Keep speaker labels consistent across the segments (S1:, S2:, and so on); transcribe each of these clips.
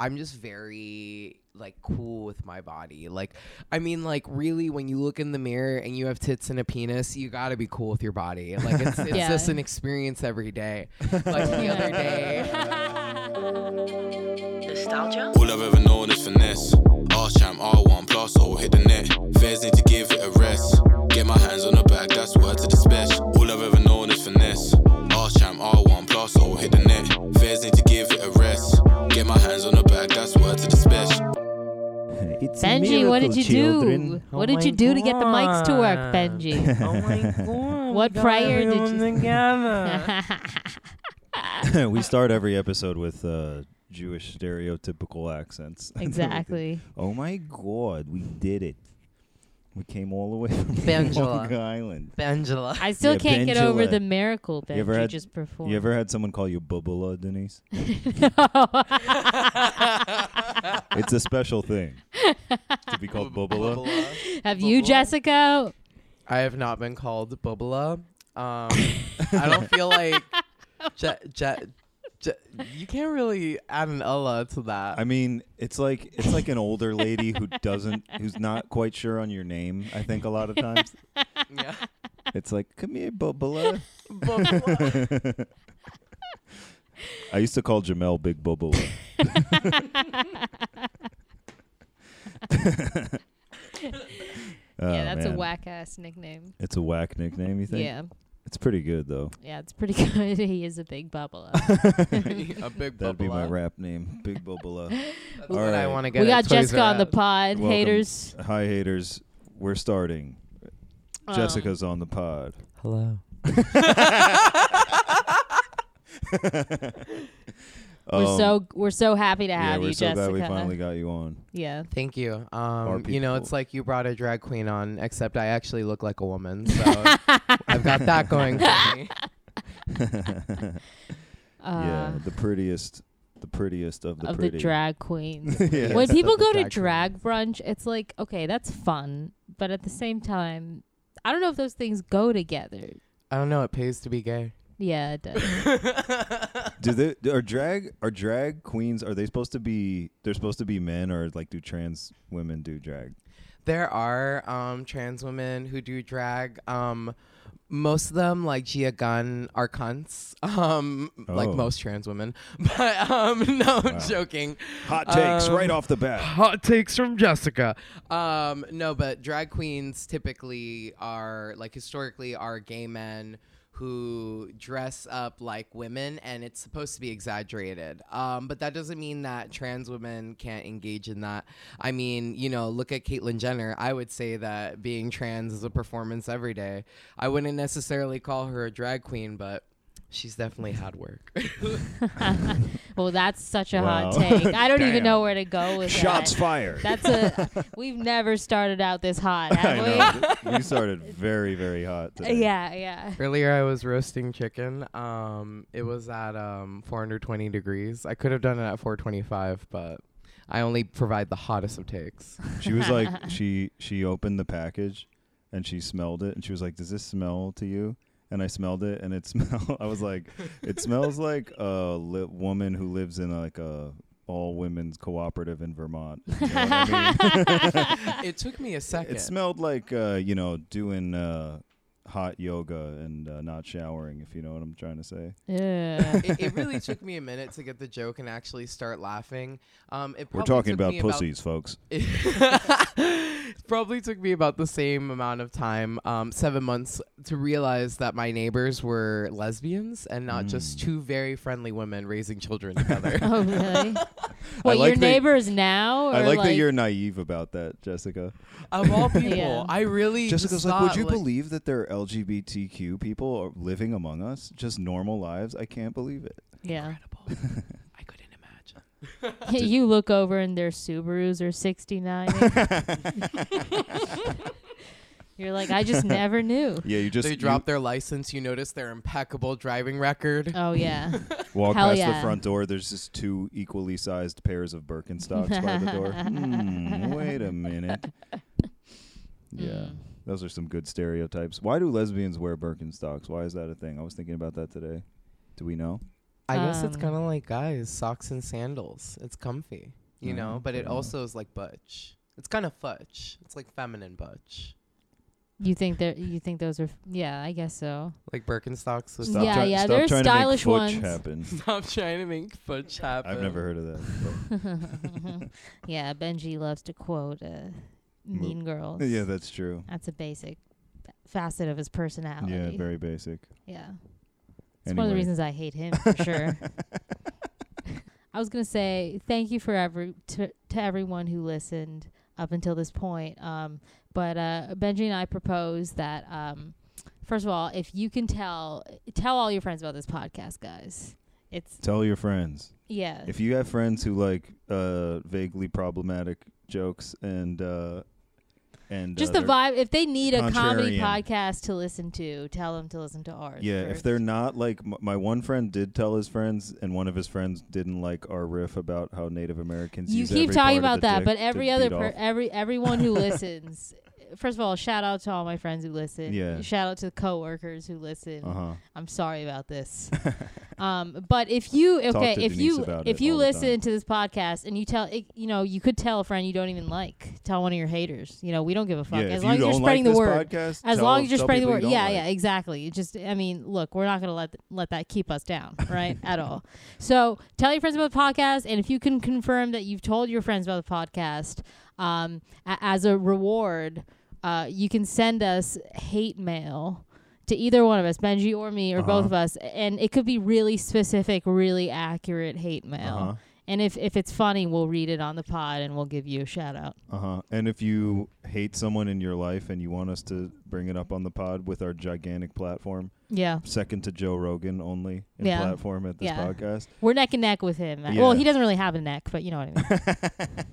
S1: I'm just very like cool with my body. Like I mean like really when you look in the mirror and you have tits and a penis, you got to be cool with your body. Like it's, it's
S2: Yeah.
S1: just an experience every day. Like the other day
S3: Nostalgia.
S4: All I've ever known is finesse. R champ, R1 plus, oh, hit the net. Fairs need to give it a rest. Get my hands on the bag, that's word to the special. All I've ever known is finesse. R champ, R1 plus, oh, hit the net. Fairs need to give it a rest. Get my hands on the bag, that's word to the special.
S5: It's a
S2: Benji, what did
S5: miracle,
S2: you
S5: children. Oh
S2: do? what did you do to get the mics to work, Benji?
S1: Oh my god.
S2: What prior did you-
S1: together?
S5: we start every episode with uh, Jewish stereotypical accents. That's what we do.
S2: exactly.
S5: Oh my god, we did it. We came all the way from
S1: Benjula.
S5: Long Island.
S1: Angela.
S2: I still
S5: Yeah,
S2: can't get over
S5: Benjula.
S2: the miracle Benji
S5: You ever had-
S2: just performed.
S5: You ever had someone call you Bubula, Denise? It's a special thing to be called Bubula.
S2: Have you,
S1: Bubula?
S2: Jessica?
S1: I have not been called Bubula. Um, I don't feel like Je- Je- Je- you can't really add an Ella to that.
S5: I mean, it's like it's like an older lady who doesn't, who's not quite sure on your name. I think a lot of times
S1: yeah.
S5: it's like, "Come here, Bubula."
S1: Bubula.
S5: I used to call Jamel Big Bubula.
S2: yeah, that's
S5: Oh, man.
S2: a whack ass nickname.
S5: It's a whack nickname, you think?
S2: Yeah,
S5: It's pretty good though.
S2: yeah, it's pretty good. he is a big bubble.
S1: a big
S5: That'd
S1: Bubula.
S5: be my rap name, Big Bubula.
S1: That's
S5: All
S1: what I
S5: right.
S1: want to get.
S2: we
S1: at
S2: got
S1: Toys
S2: Jessica
S1: R
S2: on the
S1: Us.
S2: pod.
S5: Welcome.
S2: Haters.
S5: Hi haters, we're starting.
S2: Um,
S5: Jessica's on the pod.
S1: Hello.
S2: We're
S5: Um,
S2: so we're so happy to
S5: yeah,
S2: have
S5: we're
S2: you,
S5: so
S2: Jessica.
S5: glad we finally got you on.
S2: yeah.
S1: Thank you. Um, you know,
S5: people.
S1: it's like you brought a drag queen on, except I actually look like a woman, so I've got that going for me.
S2: Uh,
S5: yeah, the prettiest, the prettiest of the
S2: of
S5: pretty.
S2: the drag queens.
S5: Yeah.
S2: when
S1: Yes,
S2: people
S1: of the
S2: go to
S1: drag
S2: drag brunch, it's like, okay, that's fun, but at the same time, I don't know if those things go together.
S1: I don't know. It pays to be gay.
S2: Yeah, it does.
S5: do they do- are drag are drag queens? Are they supposed to be? They're supposed to be men, or like do trans women do drag?
S1: There are um, trans women who do drag. Um, most of them, like Gia Gunn, are cunts. Um, Like
S5: Oh.
S1: most trans women. But um, no, I'm
S5: Wow.
S1: joking.
S5: Hot takes
S1: Um,
S5: right off the bat.
S1: Hot takes from Jessica. Um, no, but drag queens typically are, like, historically are gay men who dress up like women, and it's supposed to be exaggerated. Um, but that doesn't mean that trans women can't engage in that. I mean, you know, look at Caitlyn Jenner. I would say that being trans is a performance every day. I wouldn't necessarily call her a drag queen, but. She's definitely had work.
S2: well, that's such a hot
S5: Wow.
S2: take. I don't even
S5: Damn.
S2: know where to go with
S5: Shots
S2: that.
S5: fired.
S2: That's a. We've never started out this hot,
S5: I
S2: have we?
S5: know. we started very, very hot. Today.
S2: Yeah, yeah.
S1: Earlier, I was roasting chicken. Um, it was at um, 420 degrees. I could have done it at 425, but I only provide the hottest of takes.
S5: She was like, she she opened the package, and she smelled it, and she was like, "Does this smell to you?" And I smelled it, and it smelled. I was like, "It smells like a li- woman who lives in like a all women's cooperative in Vermont." You know what I mean?
S1: it took me a second.
S5: It smelled like uh, you know doing uh, hot yoga and uh, not showering, if you know what I'm trying to say.
S2: Yeah.
S1: it, it really took me a minute to get the joke and actually start laughing. Um, it
S5: We're
S1: probably
S5: talking
S1: took
S5: about
S1: me
S5: pussies, folks.
S1: it probably took me about the same amount of time, um, seven months, to realize that my neighbors were lesbians and not
S5: Mm.
S1: just two very friendly women raising children together.
S2: oh, really?
S5: I
S2: What,
S5: like
S2: your
S5: that-
S2: neighbors now? Or
S5: I like, that you're naive about that, Jessica.
S1: of all people,
S2: Yeah.
S1: I really
S5: Jessica's like,
S1: thought,
S5: would you believe that there are LGBTQ people are living among us, just normal lives? I can't believe it.
S2: Yeah.
S1: incredible. I couldn't imagine.
S2: you look over and their Subarus are 69. You're like, I just never knew.
S5: Yeah, you just
S1: They
S5: you
S1: drop their license. You notice their impeccable driving record.
S2: Oh, yeah.
S5: walk
S2: Hell
S5: past
S2: yeah.
S5: the front door. There's just two equally sized pairs of Birkenstocks by the door. Hmm, wait a minute.
S2: Hmm.
S5: Yeah, those are some good stereotypes. Why do lesbians wear Birkenstocks? Why is that a thing? I was thinking about that today. Do we know?
S1: I guess it's
S2: Um,
S1: kind of like guys, socks and sandals. It's comfy, you know, but it
S5: Mhm.
S1: also is like butch. It's kind of fudge. It's like feminine butch.
S2: You think that you think those are? f- Yeah, I guess so.
S1: Like Birkenstocks with
S5: Stop
S2: Yeah,
S5: try-
S2: yeah,
S5: stop
S2: there are
S5: trying
S2: stylish
S5: to make
S2: ones.
S5: Futch happen.
S1: Stop trying to make fudge happen.
S5: I've never heard of that.
S2: yeah, Benji loves to quote uh, Mean Girls.
S5: but- yeah, that's true.
S2: that's a basic facet of his personality.
S5: Yeah, very basic.
S2: Yeah. It's one of the
S5: Anyway.
S2: reasons I hate him for sure. I was gonna say thank you for every to, to everyone who listened up until this point. Um, but uh, Benji and I propose that um, first of all, if you can tell tell all your friends about this podcast, guys. It's
S5: Tell your friends.
S2: yeah.
S5: If you have friends who like uh, vaguely problematic jokes and uh, and
S2: just
S5: uh,
S2: the vibe. If they need a comedy
S5: contrarian.
S2: podcast to listen to, tell them to listen to ours.
S5: Yeah, if
S2: first.
S5: they're not like m- my one friend did tell his friends, and one of his friends didn't like our riff about how Native Americans.
S2: you
S5: use
S2: keep
S5: every
S2: talking
S5: part
S2: about
S5: of the
S2: that,
S5: dick
S2: but
S5: to
S2: every other
S5: beat
S2: per-
S5: off.
S2: every everyone who listens. First of all, shout out to all my friends who listen.
S5: Yeah.
S2: Shout out to the coworkers who listen.
S5: uh-huh.
S2: I'm sorry about this. um, but if you
S5: Talk
S2: okay,
S5: to
S2: if
S5: Denise
S2: you
S5: about
S2: if
S5: it
S2: you
S5: all the
S2: listen
S5: time.
S2: to this podcast and you tell it, you know you could tell a friend you don't even like, tell one of your haters. You know we don't give a fuck
S5: yeah,
S2: as
S5: if
S2: long
S5: you
S2: as you're
S5: don't
S2: spreading
S5: like
S2: the
S5: this
S2: word.
S5: podcast,
S2: As
S5: tell-
S2: long as you're
S5: tell
S2: spreading the
S5: people
S2: word,
S5: you
S2: yeah,
S5: don't
S2: yeah,
S5: like.
S2: exactly. It just, I mean, look, we're not gonna let th- let that keep us down, right, at all. So tell your friends about the podcast, and if you can confirm that you've told your friends about the podcast, um, a- as a reward, uh, you can send us hate mail to either one of us, Benji or me, or both
S5: Uh-huh.
S2: of us, and it could be really specific, really accurate hate mail.
S5: Uh-huh.
S2: And if if it's funny, we'll read it on the pod, and we'll give you a shout out.
S5: Uh-huh. And if you hate someone in your life and you want us to bring it up on the pod with our gigantic platform,
S2: Yeah,
S5: second to Joe Rogan only in
S2: Yeah.
S5: platform at this
S2: Yeah.
S5: podcast.
S2: we're neck and neck with him.
S5: Yeah.
S2: Well, he doesn't really have a neck, but you know what I mean.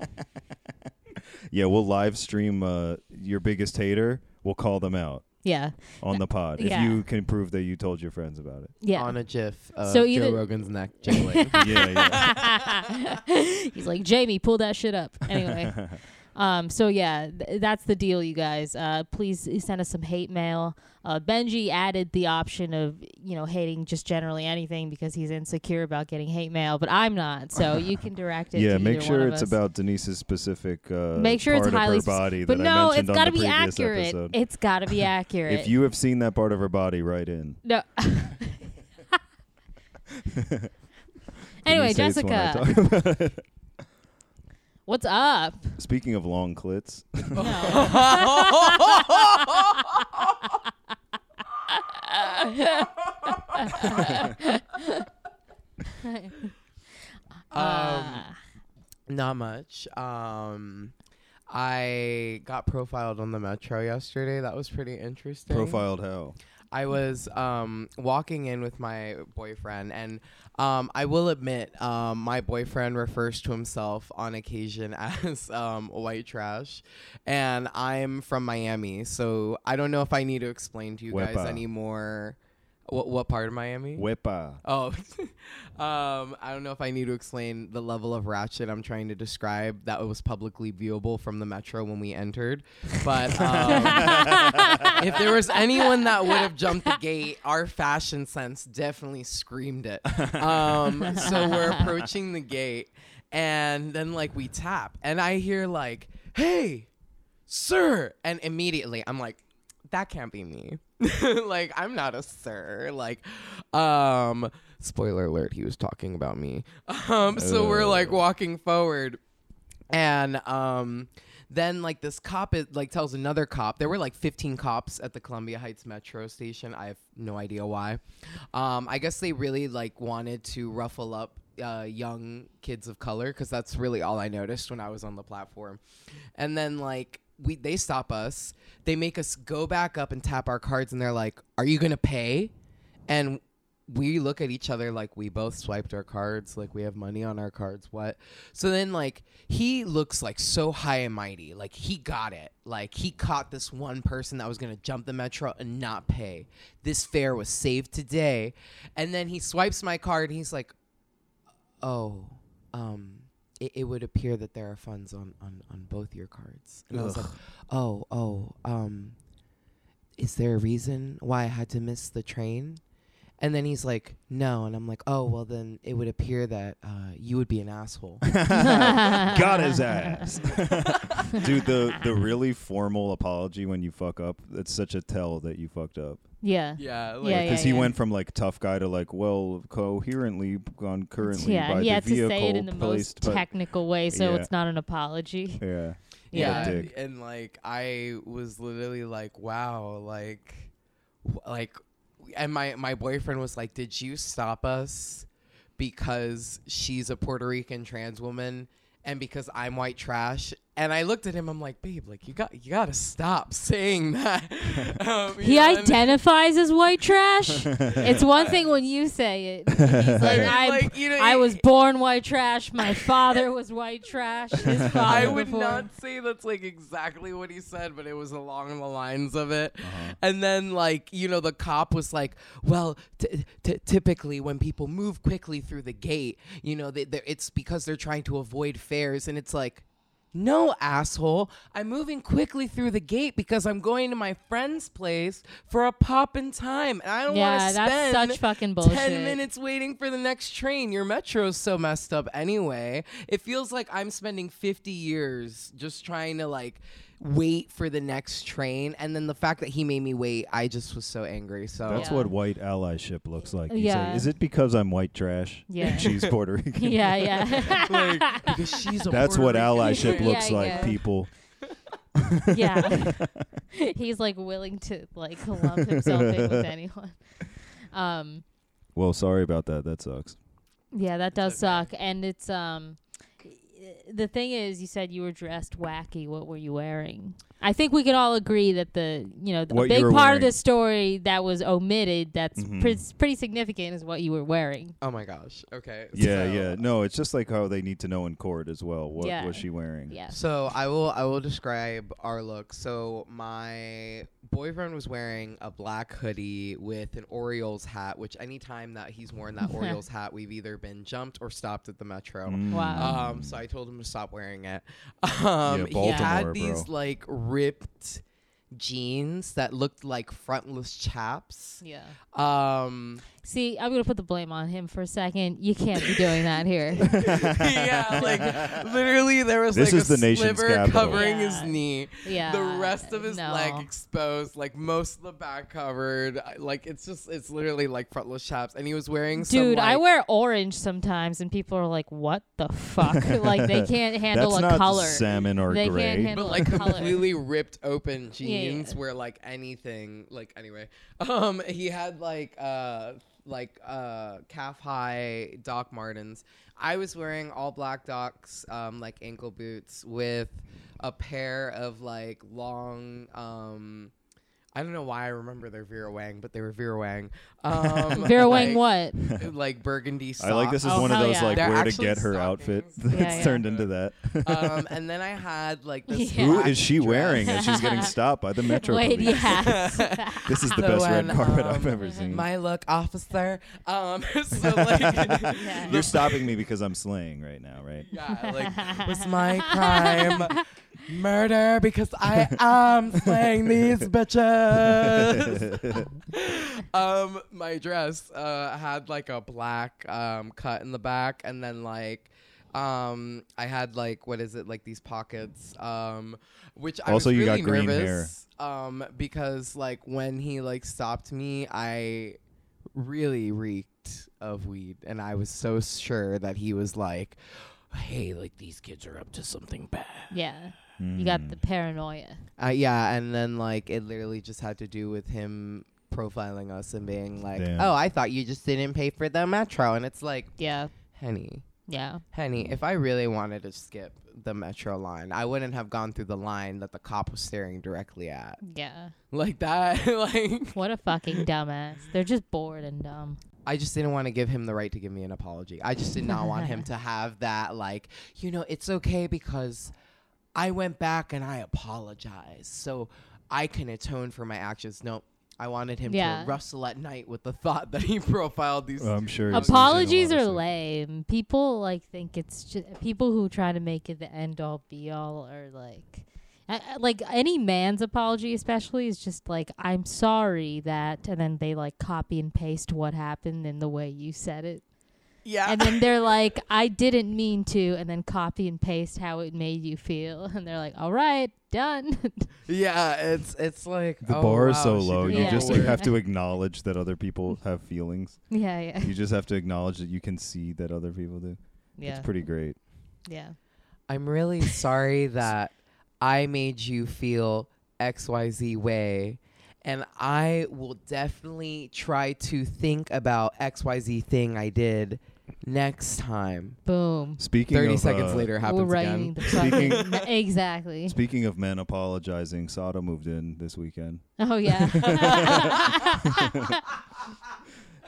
S5: Yeah, we'll live stream uh, your biggest hater. We'll call them out
S2: Yeah.
S5: on the pod
S2: Yeah.
S5: if you can prove that you told your friends about it.
S2: Yeah.
S1: On a GIF of
S2: So
S1: Joe
S2: either-
S1: Rogan's neck jiggling.
S5: yeah, yeah.
S2: He's like, Jamie, pull that shit up. Anyway. um, so yeah, th- that's the deal, you guys. Uh, please send us some hate mail. Uh, Benji added the option of, you know, hating just generally anything because he's insecure about getting hate mail, but I'm not. So you can direct it
S5: yeah,
S2: to
S5: make
S2: either one
S5: sure
S2: of
S5: it's
S2: us.
S5: about Denise's specific uh,
S2: Make sure it's
S5: part
S2: highly
S5: of her
S2: spec-
S5: body
S2: But
S5: that
S2: no,
S5: I
S2: it's
S5: mentioned
S2: got to
S5: on the
S2: be
S5: previous
S2: accurate.
S5: episode.
S2: It's got to be accurate.
S5: If you have seen that part of her body, write in.
S2: no. anyway,
S5: Denise hates when I
S2: Jessica,
S5: talk about it.
S2: what's up?
S5: Speaking of long clits,
S2: No.
S1: um,
S2: Ah.
S1: not much. Um, I got profiled on the metro yesterday. That was pretty interesting.
S5: profiled how?
S1: I was um, walking in with my boyfriend, and um, I will admit, um, my boyfriend refers to himself on occasion as um, white trash. And I'm from Miami, so I don't know if I need to explain to you guys
S5: Wepa.
S1: anymore. What, what part of Miami?
S5: Wepa.
S1: Oh, um, I don't know if I need to explain the level of ratchet I'm trying to describe that was publicly viewable from the metro when we entered. But um, if there was anyone that would have jumped the gate, our fashion sense definitely screamed it. Um, so we're approaching the gate, and then like we tap, and I hear like, "Hey, sir!" And immediately I'm like, "That can't be me." like I'm not a sir. Like, um, spoiler alert, he was talking about me. Um, so we're like walking forward and um then like this cop is, like tells another cop there were like 15 cops at the columbia heights metro station i have no idea why um i guess they really like wanted to ruffle up uh, young kids of color because that's really all i noticed when i was on the platform and then like we they stop us they make us go back up and tap our cards and they're like are you gonna pay and we look at each other like we both swiped our cards, like we have money on our cards, what? So then like he looks like so high and mighty. Like he got it. Like he caught this one person that was gonna jump the metro and not pay. This fare was saved today. And then he swipes my card and he's like, Oh, um, it, it would appear that there are funds on, on, on both your cards. And I was like, Oh, oh, um, is there a reason why I had to miss the train? And then he's like, no. And I'm like, oh, well, then it would appear that uh, you would be an asshole.
S5: Got his ass. Dude, the, the really formal apology when you fuck up, it's such a tell that you fucked up.
S2: Yeah.
S1: yeah.
S2: Yeah,
S5: Because
S2: yeah.
S5: he went from like tough guy to like, well, coherently, concurrently
S2: Yeah,
S5: by
S2: he
S5: the
S2: had to
S5: vehicle
S2: say it in the most
S5: placed by-
S2: technical way, so
S5: Yeah.
S2: it's not an apology.
S5: yeah.
S1: yeah
S5: Yeah.
S1: and- and like i was literally like wow like w- like and my my boyfriend was like did you stop us because she's a puerto rican trans woman and because i'm white trash and i looked at him i'm like babe like you got you gotta stop saying that um, you
S2: He
S1: know, and-
S2: identifies as white trash. it's one thing when you say it. He's like,
S1: Right.
S2: I,
S1: Like, you know,
S2: I was
S1: it-
S2: born white trash. My father was white trash. His father
S1: I would
S2: before.
S1: not say that's like exactly what he said, but it was along the lines of it. And then, like, you know, the cop was like, well, t- t- typically when people move quickly through the gate, you know, they, they're- it's because they're trying to avoid fares. And it's like, no, asshole. I'm moving quickly through the gate because I'm going to my friend's place for a pop in time. And I don't want
S2: Yeah,
S1: to
S2: that's
S1: spend
S2: such fucking bullshit.
S1: 10 minutes waiting for the next train. Your metro's so messed up anyway. It feels like I'm spending 50 years just trying to like wait for the next train. And then the fact that he made me wait, I just was so angry. So
S5: That's
S2: Oh, Yeah.
S5: what white allyship looks like. You say,
S2: Yeah.
S5: Is it because I'm white trash?
S2: Yeah.
S5: and She's Puerto Rican.
S2: Yeah, yeah,
S1: because she's a
S5: That's
S1: Puerto
S5: what
S1: Rican
S2: Yeah,
S5: allyship
S1: woman.
S5: looks like,
S2: yeah.
S5: people.
S2: yeah. He's like willing to like lump himself in with anyone. Um,
S5: Well, sorry about that. That sucks.
S2: Yeah, that does
S1: okay.
S2: suck. And it's um the thing is you said you were dressed wacky. What were you wearing? I think we can all agree that the you know the
S5: What
S2: a
S5: you
S2: big
S5: were
S2: part of
S5: wearing.
S2: the story that was omitted that's
S5: Mhm.
S2: pre- pretty significant is what you were wearing.
S1: Oh my gosh. Okay.
S5: Yeah,
S1: so-
S5: yeah. No, it's just like how they need to know in court as well. What
S2: Yeah.
S5: was she wearing?
S2: Yeah.
S1: So I will I will describe our look. So my boyfriend was wearing a black hoodie with an Orioles hat, which anytime that he's worn that Orioles hat, we've either been jumped or stopped at the metro.
S5: Mm.
S2: Wow.
S1: Um, so I told him to stop wearing it. Um, he
S5: Baltimore,
S1: had these
S5: bro.
S1: like ripped jeans that looked like frontless chaps.
S2: Yeah.
S1: Um,
S2: See, I'm gonna put the blame on him for a second. You can't be doing that here.
S1: yeah, like literally there was
S5: This
S1: like
S5: is
S1: a
S5: the nation's
S1: sliver
S5: capital.
S1: covering his
S2: Yeah.
S1: knee.
S2: Yeah.
S1: the rest of his
S2: no.
S1: leg exposed, like most of the back covered. I- Like it's just it's literally like frontless chaps, and he was wearing some,
S2: Dude, I
S1: like-
S2: wear orange sometimes, and people are like, "What the fuck?" like they can't handle
S5: That's
S2: a
S5: not
S2: color.
S5: salmon or
S2: They can't
S5: gray.
S2: handle-
S1: but like
S2: color.
S1: completely ripped open jeans
S2: yeah.
S1: where like anything like anyway um he had like uh like uh calf high doc martens i was wearing all black docs um like ankle boots with a pair of like long um I don't know why I remember they're Vera Wang, but they were Vera Wang. Um,
S2: Vera Wang,
S1: like-
S2: what?
S1: like burgundy socks.
S5: I like this is
S2: Oh,
S5: one of
S2: hell
S5: those
S2: yeah.
S5: like
S1: They're
S5: where to
S1: actually
S5: get her
S1: stockings.
S5: outfit.
S1: Yeah,
S5: It's
S2: yeah.
S5: turned into that.
S1: um, and then I had like this.
S2: Yeah.
S5: Who
S1: black
S5: is she
S1: dress.
S5: wearing as she's getting stopped by the metro
S2: Wait,
S5: police?
S2: yes.
S5: This is the
S1: So
S5: best red
S1: when,
S5: carpet
S2: Oh,
S1: um,
S5: I've ever seen.
S1: My look, officer. Um, so like,
S2: Yeah.
S5: You're stopping me because I'm slaying right now, right?
S1: yeah, like was my crime murder because I am slaying these bitches. um, my dress uh, had like a black um, cut in the back, and then like. Um, I had like what is it like these pockets, um, which I
S5: Also,
S1: was
S5: you got
S1: really
S5: green hair.
S1: nervous, um, because like when he like stopped me, I really reeked of weed, and I was so sure that he was like, "Hey, like these kids are up to something bad."
S2: Yeah. You got the paranoia.
S1: Uh, yeah, and then like it literally just had to do with him profiling us and being like,
S5: Damn.
S1: "Oh, I thought you just didn't pay for the metro," and it's like,
S2: Yeah.
S1: Henny,
S2: Yeah.
S1: Henny, if I really wanted to skip the metro line, I wouldn't have gone through the line that the cop was staring directly at,
S2: Yeah.
S1: like that, like.
S2: What a fucking dumbass. They're just bored and dumb.
S1: I just didn't want to give him the right to give me an apology. I just did not want him to have that, like, you know, it's okay because I went back and I apologized. So I can atone for my actions. No, I wanted him
S2: Yeah.
S1: to rustle at night with the thought that he profiled these.
S5: I'm sure. he's losing a lot
S2: Apologies
S5: of
S2: are
S5: sleep.
S2: lame. People like think it's just people who try to make it the end all be all are like I- I- like any man's apology, especially, is just like I'm sorry that, and then they like copy and paste what happened in the way you said it,
S1: Yeah.
S2: and then they're like, I didn't mean to, and then copy and paste how it made you feel, and they're like, all right, done.
S1: yeah, it's it's like
S5: The
S1: oh,
S5: bar is
S1: wow,
S5: so
S1: she
S5: low.
S1: did
S5: You
S1: all
S5: just
S1: the
S2: Yeah.
S5: have to acknowledge that other people have feelings.
S2: yeah, yeah,
S5: You just have to acknowledge that you can see that other people do.
S2: yeah,
S5: It's pretty great.
S2: yeah.
S1: I'm really sorry that I made you feel XYZ way. And I will definitely try to think about XYZ thing I did next time.
S2: Boom.
S5: Speaking
S1: 30
S5: of,
S1: seconds
S5: uh,
S1: later
S2: We're
S1: happens
S2: writing
S1: again.
S2: the fucking exactly.
S5: Speaking of men apologizing, Sada moved in this weekend.
S2: Oh yeah.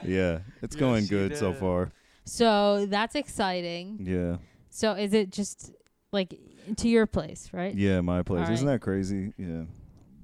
S5: Yeah, it's
S1: Yes,
S5: going
S1: she
S5: good so
S1: did.
S5: far.
S2: so that's exciting.
S5: Yeah,
S2: So is it just like to your place, right?
S5: yeah, my place.
S2: All
S5: Isn't that crazy? Yeah,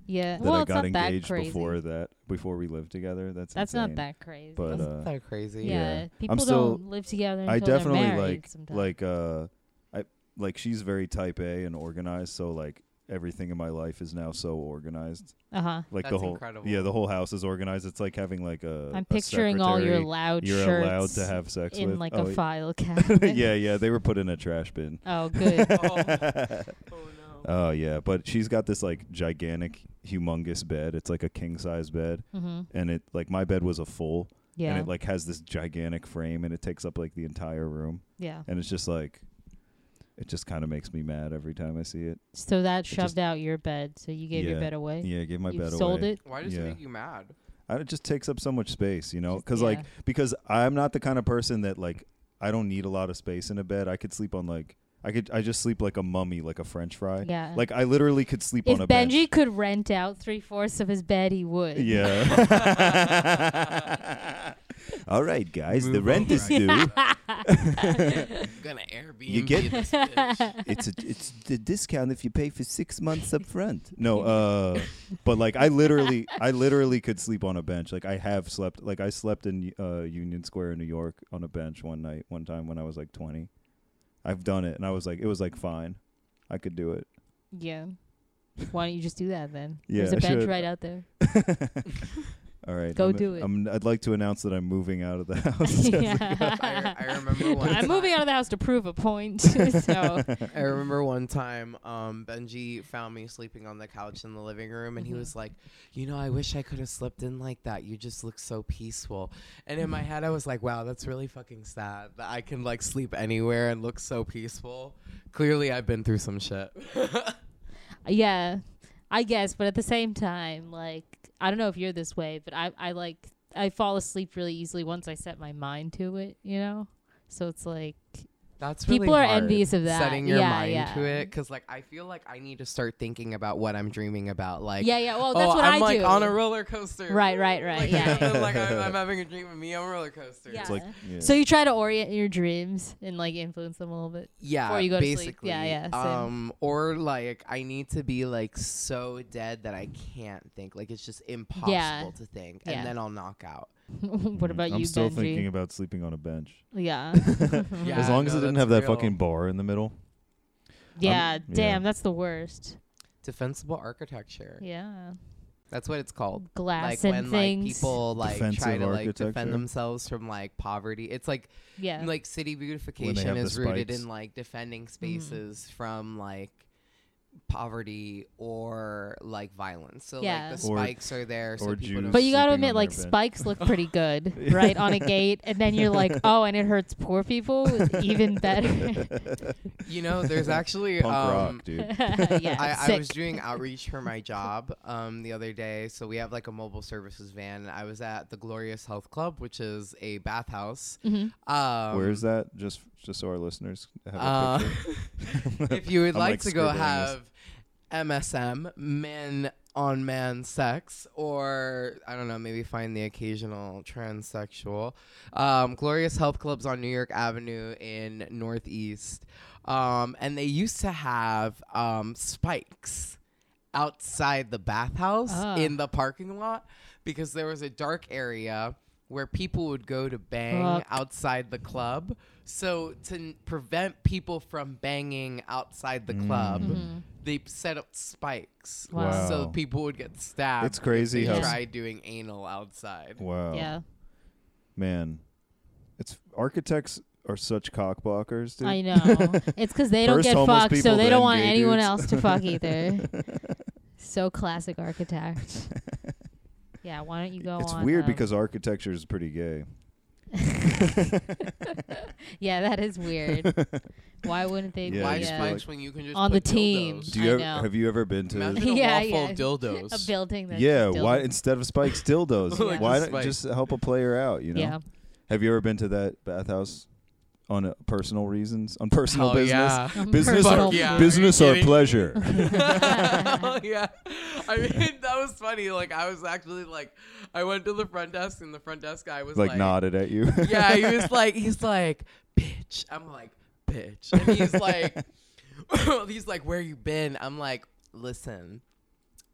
S2: Yeah.
S5: that
S2: well,
S5: I
S2: it's
S5: got
S2: not that
S5: engaged
S2: crazy.
S5: before that, before we lived together. That's
S2: That's not
S5: insane.
S2: that crazy.
S5: But
S1: Isn't
S5: uh,
S1: that crazy?
S2: yeah,
S5: yeah.
S2: people
S5: still-
S2: don't live together. Until
S5: I
S2: they're
S5: definitely
S2: married
S5: like
S2: sometimes.
S5: like uh, I like she's very type A and organized. So like everything in my life is now so organized.
S2: Uh huh.
S5: Like the
S1: That's
S5: whole
S1: incredible.
S5: yeah, the whole house is organized. It's like having like a.
S2: I'm
S5: a
S2: picturing all your
S5: secretary
S2: loud
S5: You're
S2: shirts
S5: allowed to have sex
S2: in
S5: with.
S2: like
S5: oh,
S2: a
S5: y-
S2: file cabinet.
S5: yeah, yeah, they were put in a trash bin.
S2: Oh, good.
S5: Oh yeah, but she's got this like gigantic, humongous bed. It's like a king size bed,
S2: mm-hmm.
S5: and it like my bed was a full,
S2: Yeah.
S5: and it like has this gigantic frame, and it takes up like the entire room,
S2: yeah.
S5: and it's just like, it just kind of makes me mad every time I see it.
S2: So that
S5: just-
S2: shoved out your bed. So you gave your
S5: Yeah.
S2: bed away.
S5: Yeah, I gave my
S2: you
S5: bed
S2: sold
S5: away.
S2: it.
S1: Why does it
S5: Yeah.
S1: make you mad?
S5: I, it just takes up so much space, you know,
S2: Just-
S5: because like
S2: yeah.
S5: because I'm not the kind of person that like I don't need a lot of space in a bed. I could sleep on like I could I just sleep like a mummy, like a French fry.
S2: Yeah.
S5: Like I literally could sleep
S2: if
S5: on a bench.
S2: Benji could rent out three fourths of his bed, he would.
S5: Yeah. All right, guys, the
S1: Move
S5: rent
S1: over,
S5: is
S1: I
S5: due.
S1: I'm gonna Airbnb
S5: get-
S1: this bitch.
S5: It's a it's the discount if you pay for six months up front. No, uh, but like I literally, I literally could sleep on a bench. Like I have slept, like I slept in uh, Union Square in New York on a bench one night, one time when I was like twenty. I've done it, and I was like, it was like fine, I could do it.
S2: Yeah. Why don't you just do that then?
S5: Yeah,
S2: There's a
S5: I
S2: bench
S5: should.
S2: right out there.
S5: All right,
S2: Go
S5: I'm-
S2: do it.
S5: I'm, I'd like to announce that I'm moving out of the house.
S1: I, I remember one.
S2: I'm moving out of the house to prove a point. so
S1: I remember one time um, Benji found me sleeping on the couch in the living room,
S2: Mm-hmm.
S1: and he was like, "You know, I wish I could have slept in like that. You just look so peaceful." And in my
S2: Mm-hmm.
S1: head, I was like, "Wow, that's really fucking sad that I can like sleep anywhere and look so peaceful." Clearly, I've been through some shit.
S2: yeah, I guess. But at the same time, like I don't know if you're this way, but I I like I fall asleep really easily once I set my mind to it. You know, so it's like
S1: That's really
S2: People are
S1: hard,
S2: envious of that.
S1: Setting your
S2: Yeah,
S1: mind
S2: yeah.
S1: to it, because like I feel like I need to start thinking about what I'm dreaming about. Like, oh,
S2: yeah, yeah. Well, that's what
S1: I'm
S2: I
S1: like
S2: do.
S1: on a roller coaster.
S2: Right, right, right,
S1: Like,
S2: yeah.
S1: like I'm, I'm having a dream of me on a roller coaster.
S2: Yeah.
S5: It's like, yeah.
S2: So you try to orient your dreams and like influence them a little bit.
S1: yeah
S2: Before you go to sleep.
S1: basically
S2: Yeah, yeah, same.
S1: um or like i need to be like so dead that i can't think like it's just impossible to think and
S2: Yeah.
S1: then i'll knock out
S2: what about
S5: Mm, I'm
S2: you,
S5: still
S2: Benji?
S5: thinking about sleeping on a bench.
S2: yeah,
S1: Yeah,
S5: as long as
S1: no,
S5: it didn't
S1: that's
S5: have that
S1: real.
S5: fucking bar in the middle.
S2: yeah.
S5: yeah.
S2: damn, that's the worst.
S1: defensible architecture
S2: Yeah,
S1: that's what it's called
S2: glass
S1: Er, like when
S2: and things.
S1: like people like try
S5: Defensive
S1: to like defend
S5: architecture.
S1: themselves from like poverty it's like
S2: yeah, Mm-hmm.
S1: like city
S5: have
S1: beautification
S5: the
S1: is rooted
S5: spikes.
S1: in like defending spaces from like poverty or like violence so
S2: Yeah.
S1: like the
S5: Or-
S1: spikes are there so
S5: or
S1: people
S5: Jews.
S1: don't
S2: But you gotta
S5: sleeping
S2: admit,
S5: on
S2: like
S5: their bed.
S2: spikes look pretty good, right, on a gate, and then you're like, oh, and it hurts poor people even better.
S1: you know there's actually
S5: Punk
S1: um,
S5: rock, dude.
S2: yeah,
S1: I, I
S2: sick.
S1: was doing outreach for my job um, the other day. So we have like a mobile services van. and I was at the Glorious Health Club, which is a bathhouse.
S2: Mm-hmm.
S1: Um,
S5: Where is that? Just just so our listeners have a
S1: uh,
S5: picture.
S1: if you would
S5: I'm,
S1: like,
S5: like,
S1: to go
S5: scribbling this.
S1: have MSM, men on man sex, or I don't know, maybe find the occasional transsexual. Um, Glorious Health Clubs on New York Avenue in Northeast. Um, and they used to have um, spikes outside the bathhouse
S2: Ah.
S1: in the parking lot because there was a dark area where people would go to bang
S2: Fuck.
S1: outside the club. So to n- prevent people from banging outside the club, they set up spikes
S2: Mm-hmm. Wow.
S1: so
S5: Wow.
S1: people would get stabbed.
S5: It's crazy
S1: If they
S2: how-
S1: tried doing anal outside.
S5: Wow.
S2: Yeah.
S5: Man, it's architects are such cockblockers, dude.
S2: I know. it's because they don't
S5: First
S2: get
S5: homeless
S2: fucked, so
S5: people,
S2: they
S5: then
S2: don't want
S5: gay
S2: anyone
S5: dudes.
S2: else to fuck either. so classic architect. yeah, why don't you go
S5: it's
S2: on?
S5: weird
S2: um,
S5: because architecture is pretty gay.
S2: yeah, that is weird. why wouldn't they?
S5: Yeah,
S1: Why
S5: you
S2: be,
S5: just
S2: uh,
S5: feel like-
S1: spikes when you can just
S2: On the
S1: put dildos?
S2: team.
S5: Do you
S2: I
S5: ever,
S2: know.
S5: have you ever been to?
S1: Imagine a
S2: Yeah,
S1: wall full of
S2: yeah.
S1: dildos.
S2: a building? That's
S5: yeah,
S2: just
S5: why
S2: dildos.
S5: instead of spikes, dildos?
S2: Like
S5: Why
S1: a
S5: don't
S1: spike.
S5: just help a player out? You know.
S2: Yeah.
S5: Have you ever been to that bathhouse on a, personal reasons, on personal
S1: Hell
S5: business,
S1: yeah.
S5: business
S1: Fuck
S5: or
S1: yeah.
S5: business
S1: Are you
S5: or
S1: kidding?
S5: pleasure?
S1: Hell Oh, yeah. I mean, that was funny. Like, I was actually like, I went to the front desk, and the front desk guy was
S5: like,
S1: like,
S5: nodded at you.
S1: Yeah, he was like, he's like, bitch. I'm like, bitch. And he's like, he's like, where you been? I'm like, listen,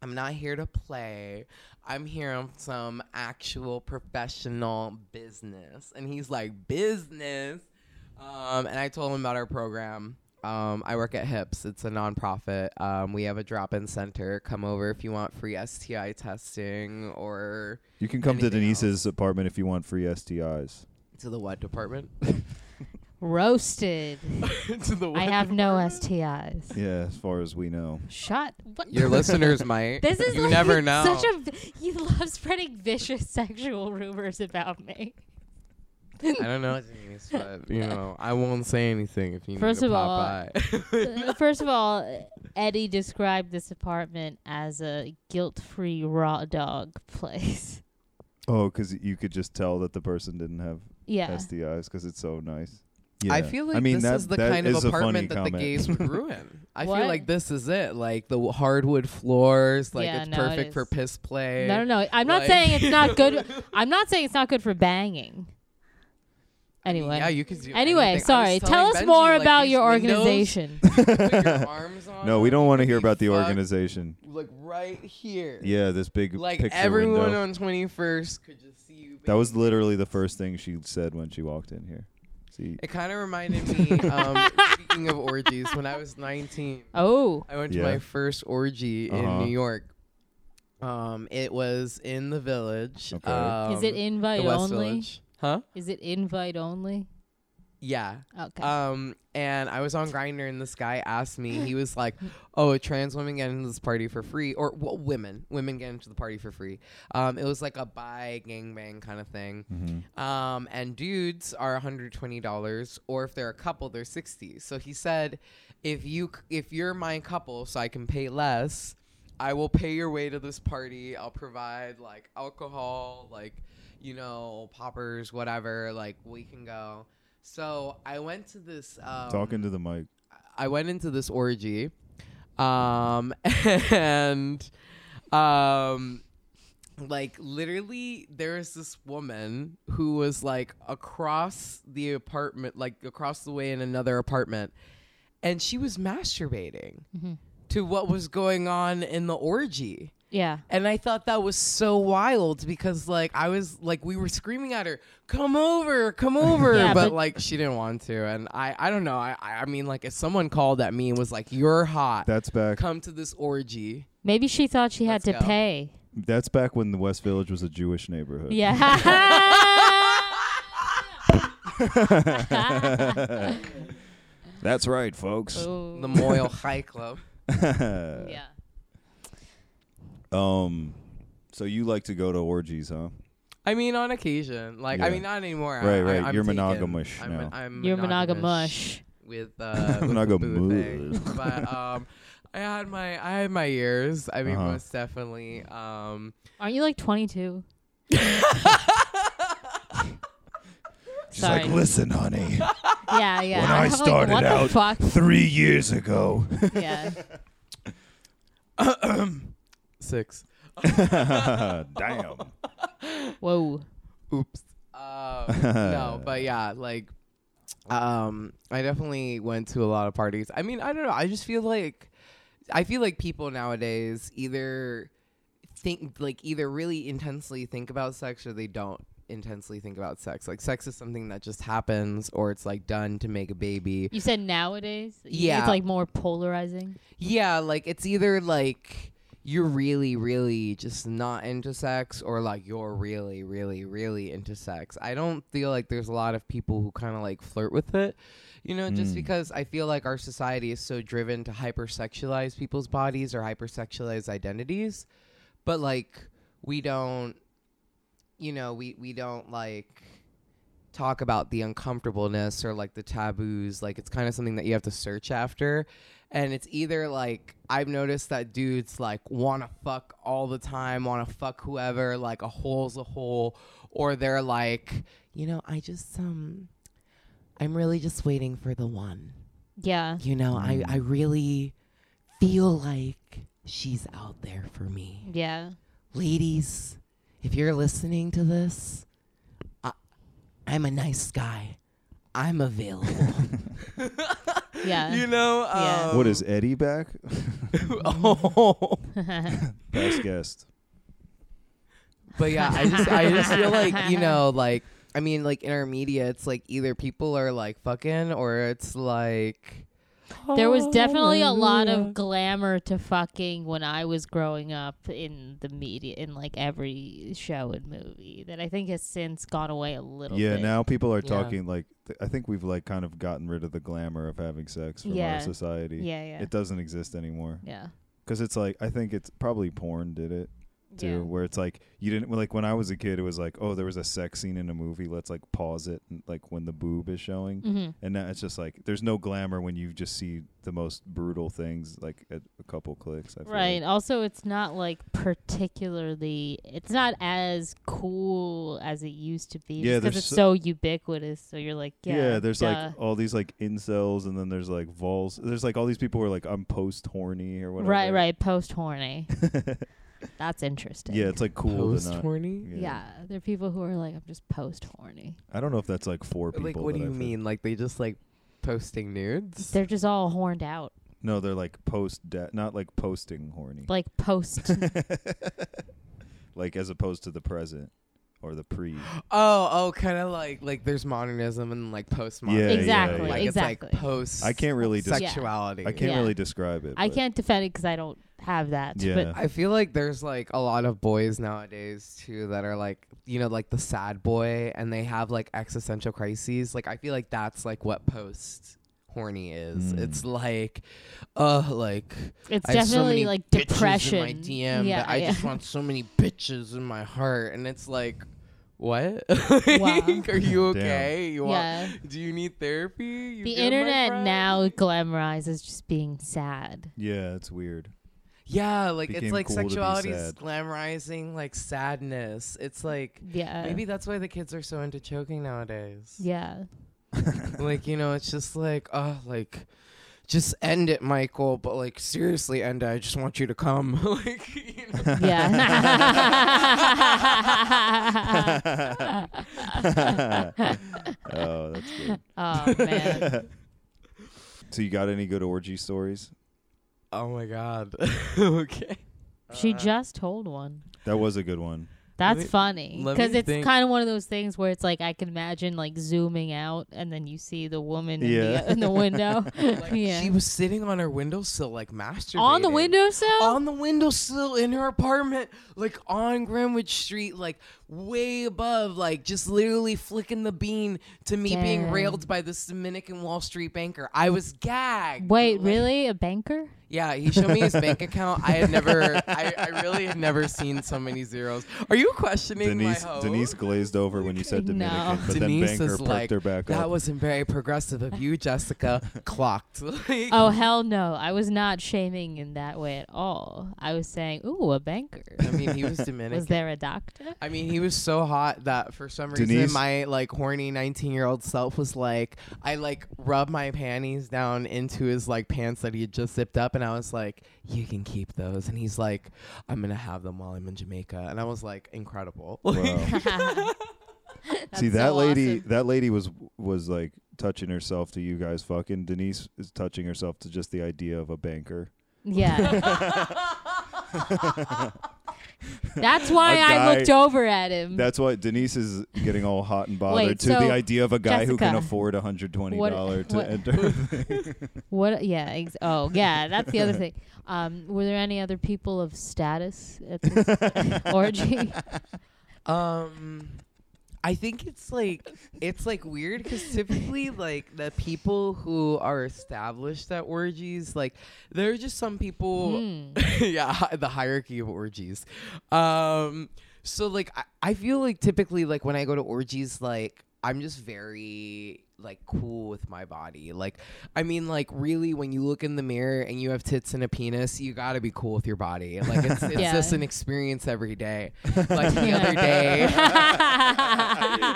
S1: I'm not here to play. I'm here on some actual professional business. And he's like, business. Um, and I told him about our program. Um, I work at HIPS. It's a nonprofit. Um, we have a drop-in center. Come over if you want free STI testing or
S5: you can come to
S1: Anything
S5: Denise's apartment if you want free STIs.
S1: to the what department?
S2: Roasted.
S1: to the what
S2: I have no STIs.
S5: Yeah, as far as we know.
S2: Shut. What?
S1: Your listeners might.
S2: This is
S1: you
S2: like
S1: never know.
S2: such a v- you love spreading vicious sexual rumors about me.
S1: I don't know, Denise, but you know, I won't say anything if you
S2: First
S1: need
S2: of
S1: to
S2: all,
S1: pop by.
S2: Uh, First of all, Eddie described this apartment as a guilt-free raw dog place.
S5: Oh, because you could just tell that the person didn't have
S2: Yeah.
S5: STIs because it's so nice.
S1: I
S5: Yeah.
S1: feel like
S5: I mean,
S1: this
S5: that-
S1: is the
S5: that
S1: kind of
S5: is a funny
S1: apartment that the
S5: comment.
S1: gays would ruin. I
S2: What?
S1: feel like this is it. Like the w- hardwood floors, like
S2: Yeah,
S1: it's
S2: no, it
S1: perfect for
S2: is.
S1: piss play.
S2: No, no, no. I'm not
S1: Like-
S2: saying it's not good. I'm not saying it's not good for banging. Anyway.
S1: Yeah, you could do anything.
S2: anyway,
S1: I was
S2: sorry.
S1: telling
S2: Tell us
S1: Benji,
S2: more
S1: like,
S2: about
S1: these
S2: your
S1: windows,
S2: organization.
S1: put your arms on
S5: no, we
S1: them,
S5: don't
S1: you
S5: want to
S1: could
S5: hear
S1: be
S5: about the
S1: fucked,
S5: organization.
S1: Like right here.
S5: Yeah, this big
S1: Like
S5: picture
S1: everyone
S5: window.
S1: on 21st could just see you.
S5: That was
S1: baby.
S5: literally the first thing she said when she walked in here. See,
S1: It kind of reminded me, um, speaking of orgies, when I was 19,
S2: oh.
S1: I went to
S5: Yeah.
S1: my first orgy
S5: Uh-huh.
S1: in New York. Um, it was in the village.
S5: Okay.
S1: Um,
S2: is it invite
S1: the West
S2: only?
S1: Village. Huh?
S2: Is it invite only?
S1: Yeah.
S2: Okay.
S1: Um, and I was on Grinder, and this guy asked me. He was like, "Oh, a trans woman get into this party for free, or well, women, women get into the party for free." Um, it was like a buy gangbang kind of thing.
S5: Mm-hmm.
S1: Um, and dudes are $120, or if they're a couple, they're 60. So he said, "If you, c- if you're my couple, so I can pay less, I will pay your way to this party. I'll provide like alcohol, like." You know, poppers, whatever, like we can go. So I went to this. Um,
S5: talking to the mic.
S1: I went into this orgy, um, and um, like literally, there is this woman who was like across the apartment, like across the way in another apartment, and she was masturbating to what was going on in the orgy.
S2: yeah.
S1: And I thought that was so wild because like I was like we were screaming at her, "Come over, come over!"
S2: Yeah,
S1: but,
S2: but-
S1: like she didn't want to, and I I don't know. I I I mean like if someone called at me and was like, "You're hot,
S5: That's back.
S1: come to this orgy,"
S2: Maybe she thought she had
S1: Let's
S2: to
S1: go.
S2: pay.
S5: That's back when the West Village was a Jewish neighborhood.
S2: Yeah.
S5: That's right, folks.
S2: Ooh.
S1: the Moyle High Club.
S2: Oh. yeah.
S5: Um, so you like to go to orgies, huh?
S1: I mean, on occasion, like I
S5: Yeah.
S1: mean, not anymore. I-
S5: Right,
S1: I,
S5: right.
S1: I'm
S5: You're
S1: taken.
S5: monogamish
S1: I'm,
S5: now.
S1: I'm
S2: You're
S1: monogamish.
S2: monogamush.
S1: with uh with the
S5: Monogamous.
S1: boo thing. but um I had my I had my years. I mean,
S5: Uh-huh.
S1: most definitely. Um,
S2: Aren't you like 22?
S5: She's
S2: Sorry.
S5: like, listen, honey.
S2: yeah, yeah.
S5: When
S2: I'm
S5: I
S2: like,
S5: started
S2: what
S5: out-
S2: the fuck?
S5: Three years ago.
S2: yeah.
S1: six.
S5: Damn.
S2: Whoa.
S1: Oops. Uh, no, but yeah, like, um, I definitely went to a lot of parties. I mean, I don't know. I just feel like, I feel like people nowadays either think like either really intensely think about sex or they don't. intensely think about sex. Like sex is something that just happens or it's like done to make a baby.
S2: You said nowadays? You think
S1: Yeah.
S2: It's like more polarizing.
S1: Yeah, like it's either like you're really really just not into sex or like you're really really really into sex. I don't feel like there's a lot of people who kind of like flirt with it. You know, just
S5: Mm.
S1: because I feel like our society is so driven to hypersexualize people's bodies or hypersexualize identities, but like we don't you know, we we don't like talk about the uncomfortableness or like the taboos. Like it's kind of something that you have to search after. And it's either like I've noticed that dudes like wanna fuck all the time, wanna fuck whoever, like a hole's a hole, or they're like, you know, I just um I'm really just waiting for the one.
S2: Yeah.
S1: You know, I, I really feel like she's out there for me
S2: Yeah.
S1: ladies, if you're listening to this, I, I'm a nice guy. I'm available.
S2: Yeah.
S1: you know?
S2: Yeah.
S1: Um,
S5: What is Eddie back?
S1: oh.
S5: Past guest.
S1: But yeah, I just, I just feel like, you know, like, I mean, like in our media, it's like either people are like fucking or it's like.
S2: there was definitely a lot of
S1: hallelujah.
S2: glamour to fucking when I was growing up in the media, in like every show and movie that I think has since gone away a little
S5: Yeah,
S2: bit.
S5: now people are
S1: Yeah.
S5: talking like th- I think we've like kind of gotten rid of the glamour of having sex from
S2: Yeah.
S5: our society.
S2: Yeah, yeah.
S5: It doesn't exist anymore
S2: yeah.
S5: because it's like I think it's probably porn did it too, where it's like you didn't like when I was a kid, it was like oh there was a sex scene in a movie, let's like pause it and, like when the boob is showing,
S2: Mm-hmm.
S5: and now it's just like there's no glamour when you just see the most brutal things like at a couple clicks. I feel
S2: Right.
S5: like.
S2: Also, it's not like particularly. It's not as cool as it used to be.
S5: Yeah,
S2: because
S5: there's
S2: it's
S5: so-
S2: so ubiquitous. So you're like, yeah.
S5: Yeah, there's
S2: duh.
S5: like all these like incels, and then there's like vols. There's like all these people who are like I'm post horny or whatever.
S2: right, right. Post horny. That's interesting.
S5: Yeah, it's like cool to
S1: Post
S5: not.
S1: horny?
S2: Yeah. there are people who are like, I'm just post horny.
S5: I don't know if that's like four people.
S1: Like, what
S5: that
S1: do you
S5: I've heard-
S1: mean? Like, they just like posting nudes?
S2: They're just all horned out,
S5: No, they're like post de- not like posting horny.
S2: like post.
S5: like as opposed to the present or the pre.
S1: Oh, oh, kind of like like there's modernism and like postmodernism.
S5: Yeah, yeah,
S2: exactly,
S5: yeah.
S1: Like
S2: exactly.
S1: it's like post.
S5: I can't really
S2: Sex-
S5: des-
S2: Yeah.
S1: sexuality.
S5: I can't
S2: Yeah.
S5: really describe it.
S2: I
S5: but-
S2: can't defend it because I don't have that.
S5: Yeah.
S1: I feel like there's like a lot of boys nowadays too that are like you know like the sad boy and they have like existential crises. Like I feel like that's like what post horny is.
S5: Mm.
S1: It's like, uh, like
S2: But it's
S1: I have so
S2: definitely
S1: many
S2: like
S1: bitches
S2: depression.
S1: in my DM.
S2: yeah,
S1: that I
S2: yeah.
S1: just want so many bitches in my heart, and it's like. What?
S2: Wow.
S1: Are you
S5: Damn.
S1: okay? You want,
S2: Yeah.
S1: Do you need therapy? You
S2: The
S1: good, my
S2: internet
S1: friend?
S2: now glamorizes just being sad.
S5: Yeah, it's weird.
S1: Yeah, like
S5: Became
S1: it's like
S5: cool to be
S1: sexuality is
S5: sad.
S1: glamorizing like sadness. It's like
S2: Yeah.
S1: maybe that's why the kids are so into choking nowadays.
S2: Yeah.
S1: Like, you know, it's just like, oh, like just end it, Michael, but like seriously end it. I just want you to come. like, you know.
S2: Yeah. Uh-huh.
S5: oh, that's good.
S2: oh man.
S5: So you got any good orgy stories?
S1: Oh my god. okay.
S2: She just told one.
S5: That was a good one.
S2: That's
S1: me-
S2: funny
S1: let
S2: because
S1: me
S2: it's
S1: think.
S2: kind of one of those things where it's like I can imagine like zooming out and then you see the woman in,
S5: Yeah.
S2: the, in the window.
S1: Like,
S2: yeah.
S1: She was sitting on her windowsill, like masturbating.
S2: on the windowsill?
S1: on the windowsill in her apartment, like on Greenwich Street, like way above, like just literally flicking the bean to me being
S2: Damn.
S1: railed by this Dominican Wall Street banker. I was gagged.
S2: Wait,
S1: Like,
S2: really? A banker?
S1: Yeah, he showed me his bank account. I had never, I, I really had never seen so many zeros. Are you questioning
S5: Denise
S1: my hoe?
S5: Denise glazed over when you said
S2: No.
S5: Dominican, but
S1: Denise
S5: then Banker
S1: is
S5: perked
S1: like,
S5: her back
S1: that
S5: up.
S1: wasn't very progressive of you, Jessica. Clocked. Like,
S2: Oh hell no! I was not shaming in that way at all. I was saying, ooh, a banker.
S1: I mean, he was Dominican.
S2: Was there a doctor?
S1: I mean, he was so hot that for some reason
S5: Denise-
S1: my like horny 19-year-old self was like I like rubbed my panties down into his like pants that he had just zipped up and I was like, "You can keep those." And he's like, "I'm going to have them while I'm in Jamaica." And I was like, "Incredible."
S5: Wow.
S2: That's
S5: See that
S2: so
S5: lady
S2: awesome.
S5: that lady was was like touching herself to you guys fucking Denise is touching herself to just the idea of a banker.
S2: Yeah. That's why
S5: A
S2: I
S5: guy-
S2: looked over at him.
S5: That's why Denise is getting all hot and bothered
S2: Mm-hmm. Wait,
S5: to
S2: so,
S5: the idea of a guy who can
S2: Jessica,
S5: afford a hundred twenty dollar
S2: what-
S5: to
S2: what-
S5: enter.
S2: What? Yeah. Ex- oh, yeah. That's the other thing. Um, were there any other people of status at this orgy?
S1: Um, I think it's like it's like weird because typically like the people who are established at orgies, like there are just some people.
S2: Hmm.
S1: yeah, hi- the hierarchy of orgies. Um, so like I, I feel like typically like when I go to orgies, like I'm just very like cool with my body. Like I mean, like really, when you look in the mirror and you have tits and a penis, you gotta be cool with your body. Like it's, it's
S2: Yeah.
S1: just an experience every day. Like the other day.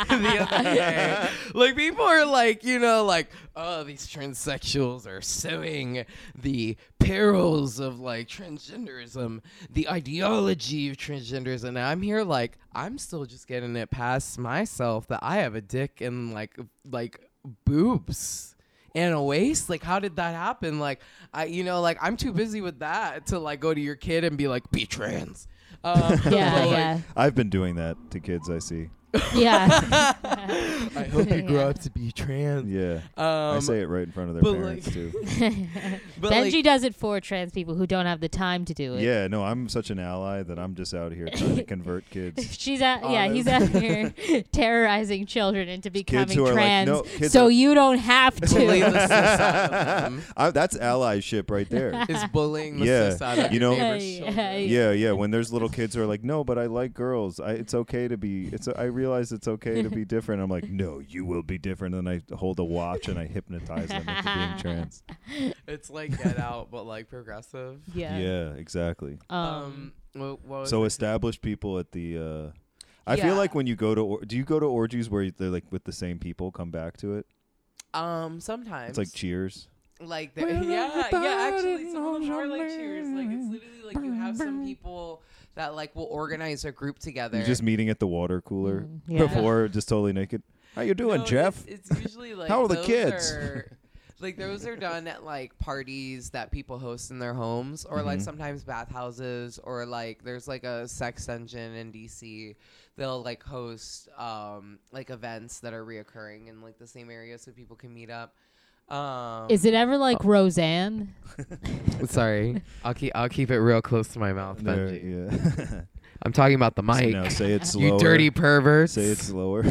S1: the other day. Like people are like, you know, like, oh, these transsexuals are suing the perils of like transgenderism, the ideology of transgenderism. And I'm here like, I'm still just getting it past myself that I have a dick and like like boobs. And a waist? Like, how did that happen? Like, I, you know, like I'm too busy with that to like go to your kid and be like, be trans. Um,
S2: yeah,
S1: but, like,
S2: yeah,
S5: I've been doing that to kids I see.
S2: yeah.
S1: I hope you grow up to be trans.
S5: Yeah.
S1: Um,
S5: I say it right in front of
S1: but,
S5: their parents
S1: like-
S5: too.
S1: but
S2: Benji
S1: like,
S2: does it for trans people who don't have the time to do it.
S5: Yeah, no, I'm such an ally that I'm just out here trying to convert kids.
S2: She's out. Yeah, he's out here terrorizing children into becoming
S5: who are like,
S2: trans,
S5: "No, kids
S2: so
S5: are-
S2: you don't have
S1: bullying
S2: to.
S1: the cis out of them.
S5: I, that's allyship right there.
S1: Is bullying the
S5: Yeah,
S1: cis out of
S5: you
S1: your
S5: know-
S1: neighbor's
S2: Yeah,
S1: children.
S2: yeah.
S5: Yeah, yeah. When there's little kids who are like, "No, but I like girls. I, it's okay to be. It's. I realize it's okay to be different." I'm like, "No, you will be different." And then I hold a watch and I hypnotize them into being trans.
S1: It's like Get Out, but like progressive.
S5: Yeah,
S2: yeah.
S5: exactly.
S2: Um.
S1: Um, what, what was
S5: So
S1: it?
S5: established people at the. Uh, I feel
S1: Yeah.
S5: like when you go to or- do you go to orgies where they're like with the same people come back to it?
S1: um, sometimes
S5: It's like Cheers.
S1: like they're- yeah, yeah. Actually, some of them are like cheers. Like it's literally like you have some people that like will organize a group together.
S5: You're just meeting at the water cooler
S2: Mm, yeah.
S5: before, just totally naked. How you doing,
S1: No,
S5: Jeff?
S1: It's, it's usually like
S5: How are the
S1: those
S5: kids?
S1: are- like those are done at like parties that people host in their homes, or like sometimes bathhouses, or like there's like a sex dungeon in DC. They'll like host um like events that are reoccurring in like the same area so people can meet up. Um,
S2: Is it ever
S5: Oh.
S2: like Roseanne?
S1: sorry, I'll keep I'll keep it real close to my mouth,
S5: There-
S1: Benji.
S5: yeah.
S1: I'm talking about the
S5: So
S1: mic.
S5: no, say it slower.
S1: you dirty perverts.
S5: Say it slower.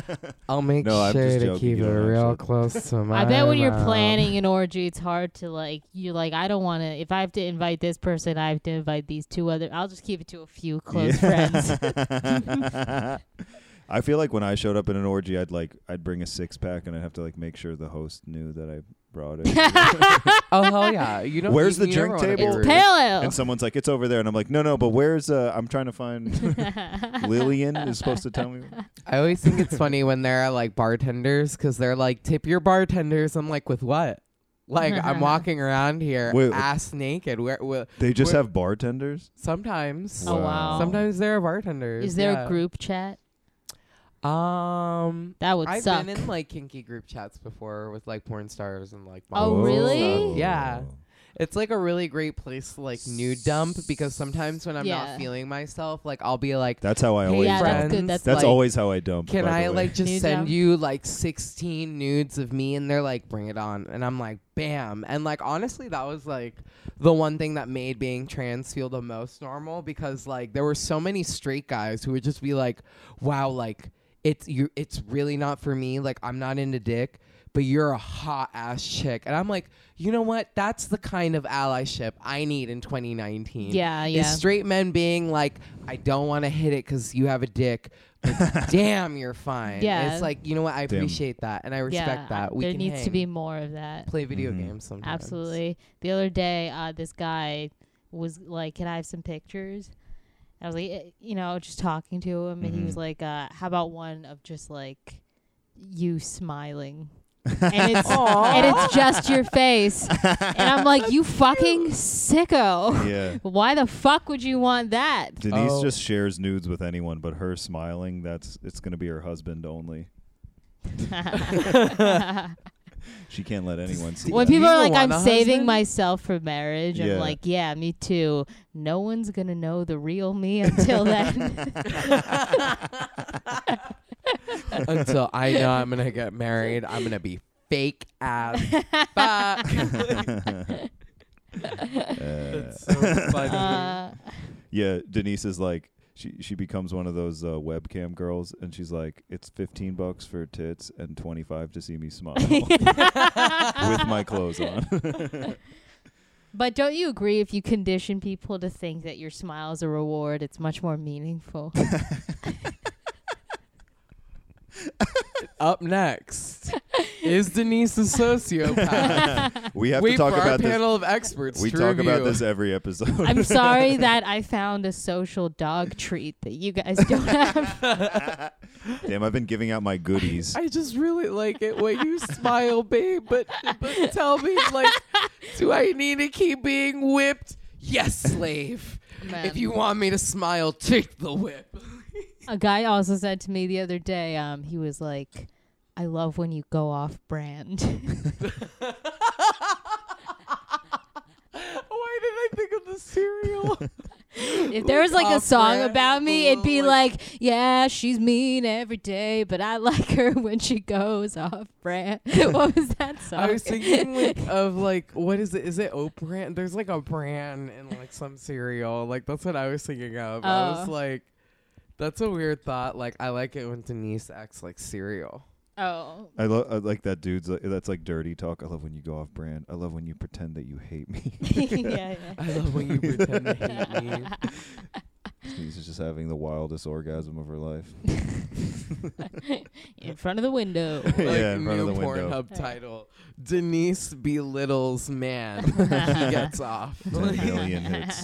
S1: I'll make
S5: No, I'm
S1: sure
S5: just
S1: to
S5: joking.
S1: keep
S5: You
S1: it
S5: don't have
S1: real
S5: to.
S1: close to my
S2: I bet when you're
S1: mouth.
S2: planning an orgy, it's hard to like. You're like, I don't want to. If I have to invite this person, I have to invite these two other. I'll just keep it to a few close friends.
S5: friends. I feel like when I showed up in an orgy, I'd like I'd bring a six pack and I'd have to like make sure the host knew that I brought it.
S1: Oh hell yeah! You don't.
S5: Where's
S1: you-
S5: the
S1: you never
S5: drink
S1: wanna be
S5: table?
S2: it's
S1: rude.
S2: pale
S5: and someone's like, "It's over there," and I'm like, "No, no, but where's uh? I'm trying to find
S2: ale.
S5: Lillian is supposed to tell me."
S1: I always think it's funny when there are like bartenders because they're like, "Tip your bartenders." I'm like, "With what?" Like I'm walking around here
S5: Wait,
S1: ass naked. Where, where
S5: They just
S1: Where-
S5: have bartenders.
S1: sometimes,
S2: Oh, wow.
S1: sometimes there are bartenders.
S2: Is there
S1: yeah.
S2: a group chat?
S1: Um,
S2: That would
S1: I've
S2: suck.
S1: been in like kinky group chats before with like porn stars and like.
S2: Oh,
S1: models and
S2: really?
S1: stuff. Yeah. It's like a really great place to like nude dump because sometimes when I'm
S2: Yeah.
S1: not feeling myself, like I'll be like,
S5: That's how I always.
S2: yeah,
S5: dump.
S2: that's
S1: friends,
S2: good. That's,
S5: That's
S1: like-
S5: always how I dump.
S1: Can
S5: by the
S1: I
S5: way.
S1: like just
S2: Nudes
S1: send
S2: out?
S1: you like 16 nudes of me? And they're like, bring it on. And I'm like, bam. And like, honestly, that was like the one thing that made being trans feel the most normal because like there were so many straight guys who would just be like, wow, like it's you, it's really not for me. Like I'm not into dick, but you're a hot ass chick. And I'm like, you know what? That's the kind of allyship I need in 2019.
S2: Yeah,
S1: Is
S2: yeah.
S1: straight men being like, I don't want to hit it because you have a dick. But damn, you're fine.
S2: Yeah.
S1: It's like, you know what? I
S5: Damn.
S1: appreciate that and I respect
S2: yeah,
S1: that. We
S2: there
S1: can
S2: needs to
S1: hang.
S2: be more of that.
S1: play video
S5: Mhm.
S1: games sometimes.
S2: Absolutely. The other day, uh, this guy was like, "Can I have some pictures?" I was like, eh, you know, just talking to him, and he was
S1: Mm-hmm.
S5: Mhm.
S2: like, uh, "How about one of just like you smiling?" and it's
S1: Aw.
S2: and it's just your face, and I'm like, "You fucking sicko!
S5: Yeah.
S2: Why the fuck would you want that?"
S5: Denise
S1: Oh.
S5: just shares nudes with anyone, but her smiling, that's it's gonna be her husband only. she can't let anyone see.
S2: When
S5: that.
S2: people
S1: You
S2: are like,
S1: want
S2: I'm
S1: a
S2: saving
S1: husband?"
S2: myself for marriage,
S5: Yeah.
S2: I'm like, yeah, me too. No one's going to know the real me until then.
S1: Until I know I'm gonna get married, I'm gonna be fake as fuck. That's so funny.
S2: uh,
S5: Yeah, Denise is like she she becomes one of those uh, webcam girls, and she's like, it's fifteen bucks for tits and twenty five to see me smile with my clothes on.
S2: but don't you agree if you condition people to think that your smile is a reward, it's much more meaningful?
S1: Up next is Denise a sociopath.
S5: we have
S1: Wait
S5: to talk
S1: for our
S5: about this.
S1: panel of experts.
S5: We
S1: to
S5: talk about
S1: review.
S5: this every episode.
S2: I'm sorry that I found a social dog treat that you guys don't have.
S5: Damn, I've been giving out my goodies.
S1: I just really like it when you smile, babe. But but tell me, like, do I need to keep being whipped? Yes, slave.
S2: Man.
S1: If you want me to smile, take the whip.
S2: A guy also said to me the other day, um, he was like, I love when you go off brand.
S1: Why did I think of the cereal?
S2: If there was like a
S1: off
S2: song
S1: brand,
S2: about me, it'd be
S1: like-
S2: like, yeah, she's mean every day, but I like her when she goes off brand. what was that song?
S1: I was thinking like of like what is it? Is it oat bran? There's like a bran in like some cereal. Like that's what I was thinking of. I was
S2: Oh.
S1: like, that's a weird thought. Like I like it when Denise acts like cereal.
S2: oh.
S5: I love I like that dude's like, that's like dirty talk. I love when you go off brand. I love when you pretend that you hate me.
S2: yeah, yeah.
S1: I love when you pretend to hate me.
S5: Denise is just having the wildest orgasm of her life.
S2: In front of the window.
S1: Like
S5: Yeah, in front
S1: new
S5: of the window.
S1: Pornhub title. Denise belittles man. he gets off.
S5: Ten million hits.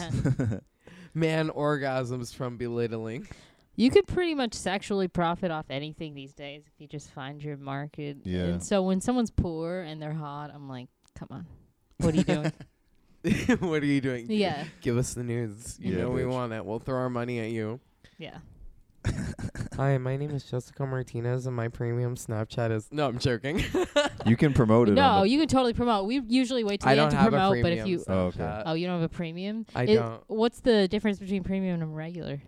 S1: man orgasms from belittling.
S2: You could pretty much sexually profit off anything these days if you just find your market.
S5: Yeah.
S2: And so when someone's poor and they're hot, I'm like, come on. What are you doing?
S1: what are you doing?
S2: yeah.
S1: Give us the news. You
S5: Yeah,
S1: know we
S5: bitch.
S1: want it. We'll throw our money at you.
S2: Yeah.
S1: Hi, my name is Jessica Martinez, and my premium Snapchat is. No, I'm joking.
S5: You can promote it.
S2: No,
S5: on
S2: you can totally promote. We usually wait till
S1: I
S2: the
S1: don't
S2: end to
S1: have
S2: promote,
S1: a
S2: but
S1: premium
S2: if you
S5: Oh, okay.
S1: Snapchat.
S2: Oh, you don't have a premium?
S1: I
S2: It-
S1: don't.
S2: What's the difference between premium and regular?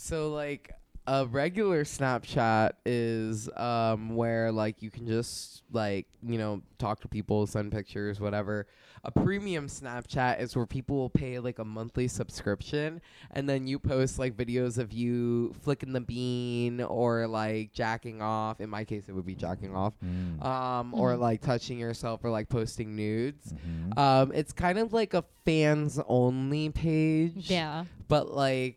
S1: So like a regular Snapchat is um where like you can just like, you know, talk to people, send pictures, whatever. A premium Snapchat is where people will pay like a monthly subscription and then you post like videos of you flicking the bean or like jacking off. In my case it would be jacking off.
S5: the. Mm.
S1: Um or
S2: Mhm.
S1: like touching yourself or like posting nudes.
S5: Mhm.
S1: Um it's kind of like a fans only page
S2: Yeah.
S1: but like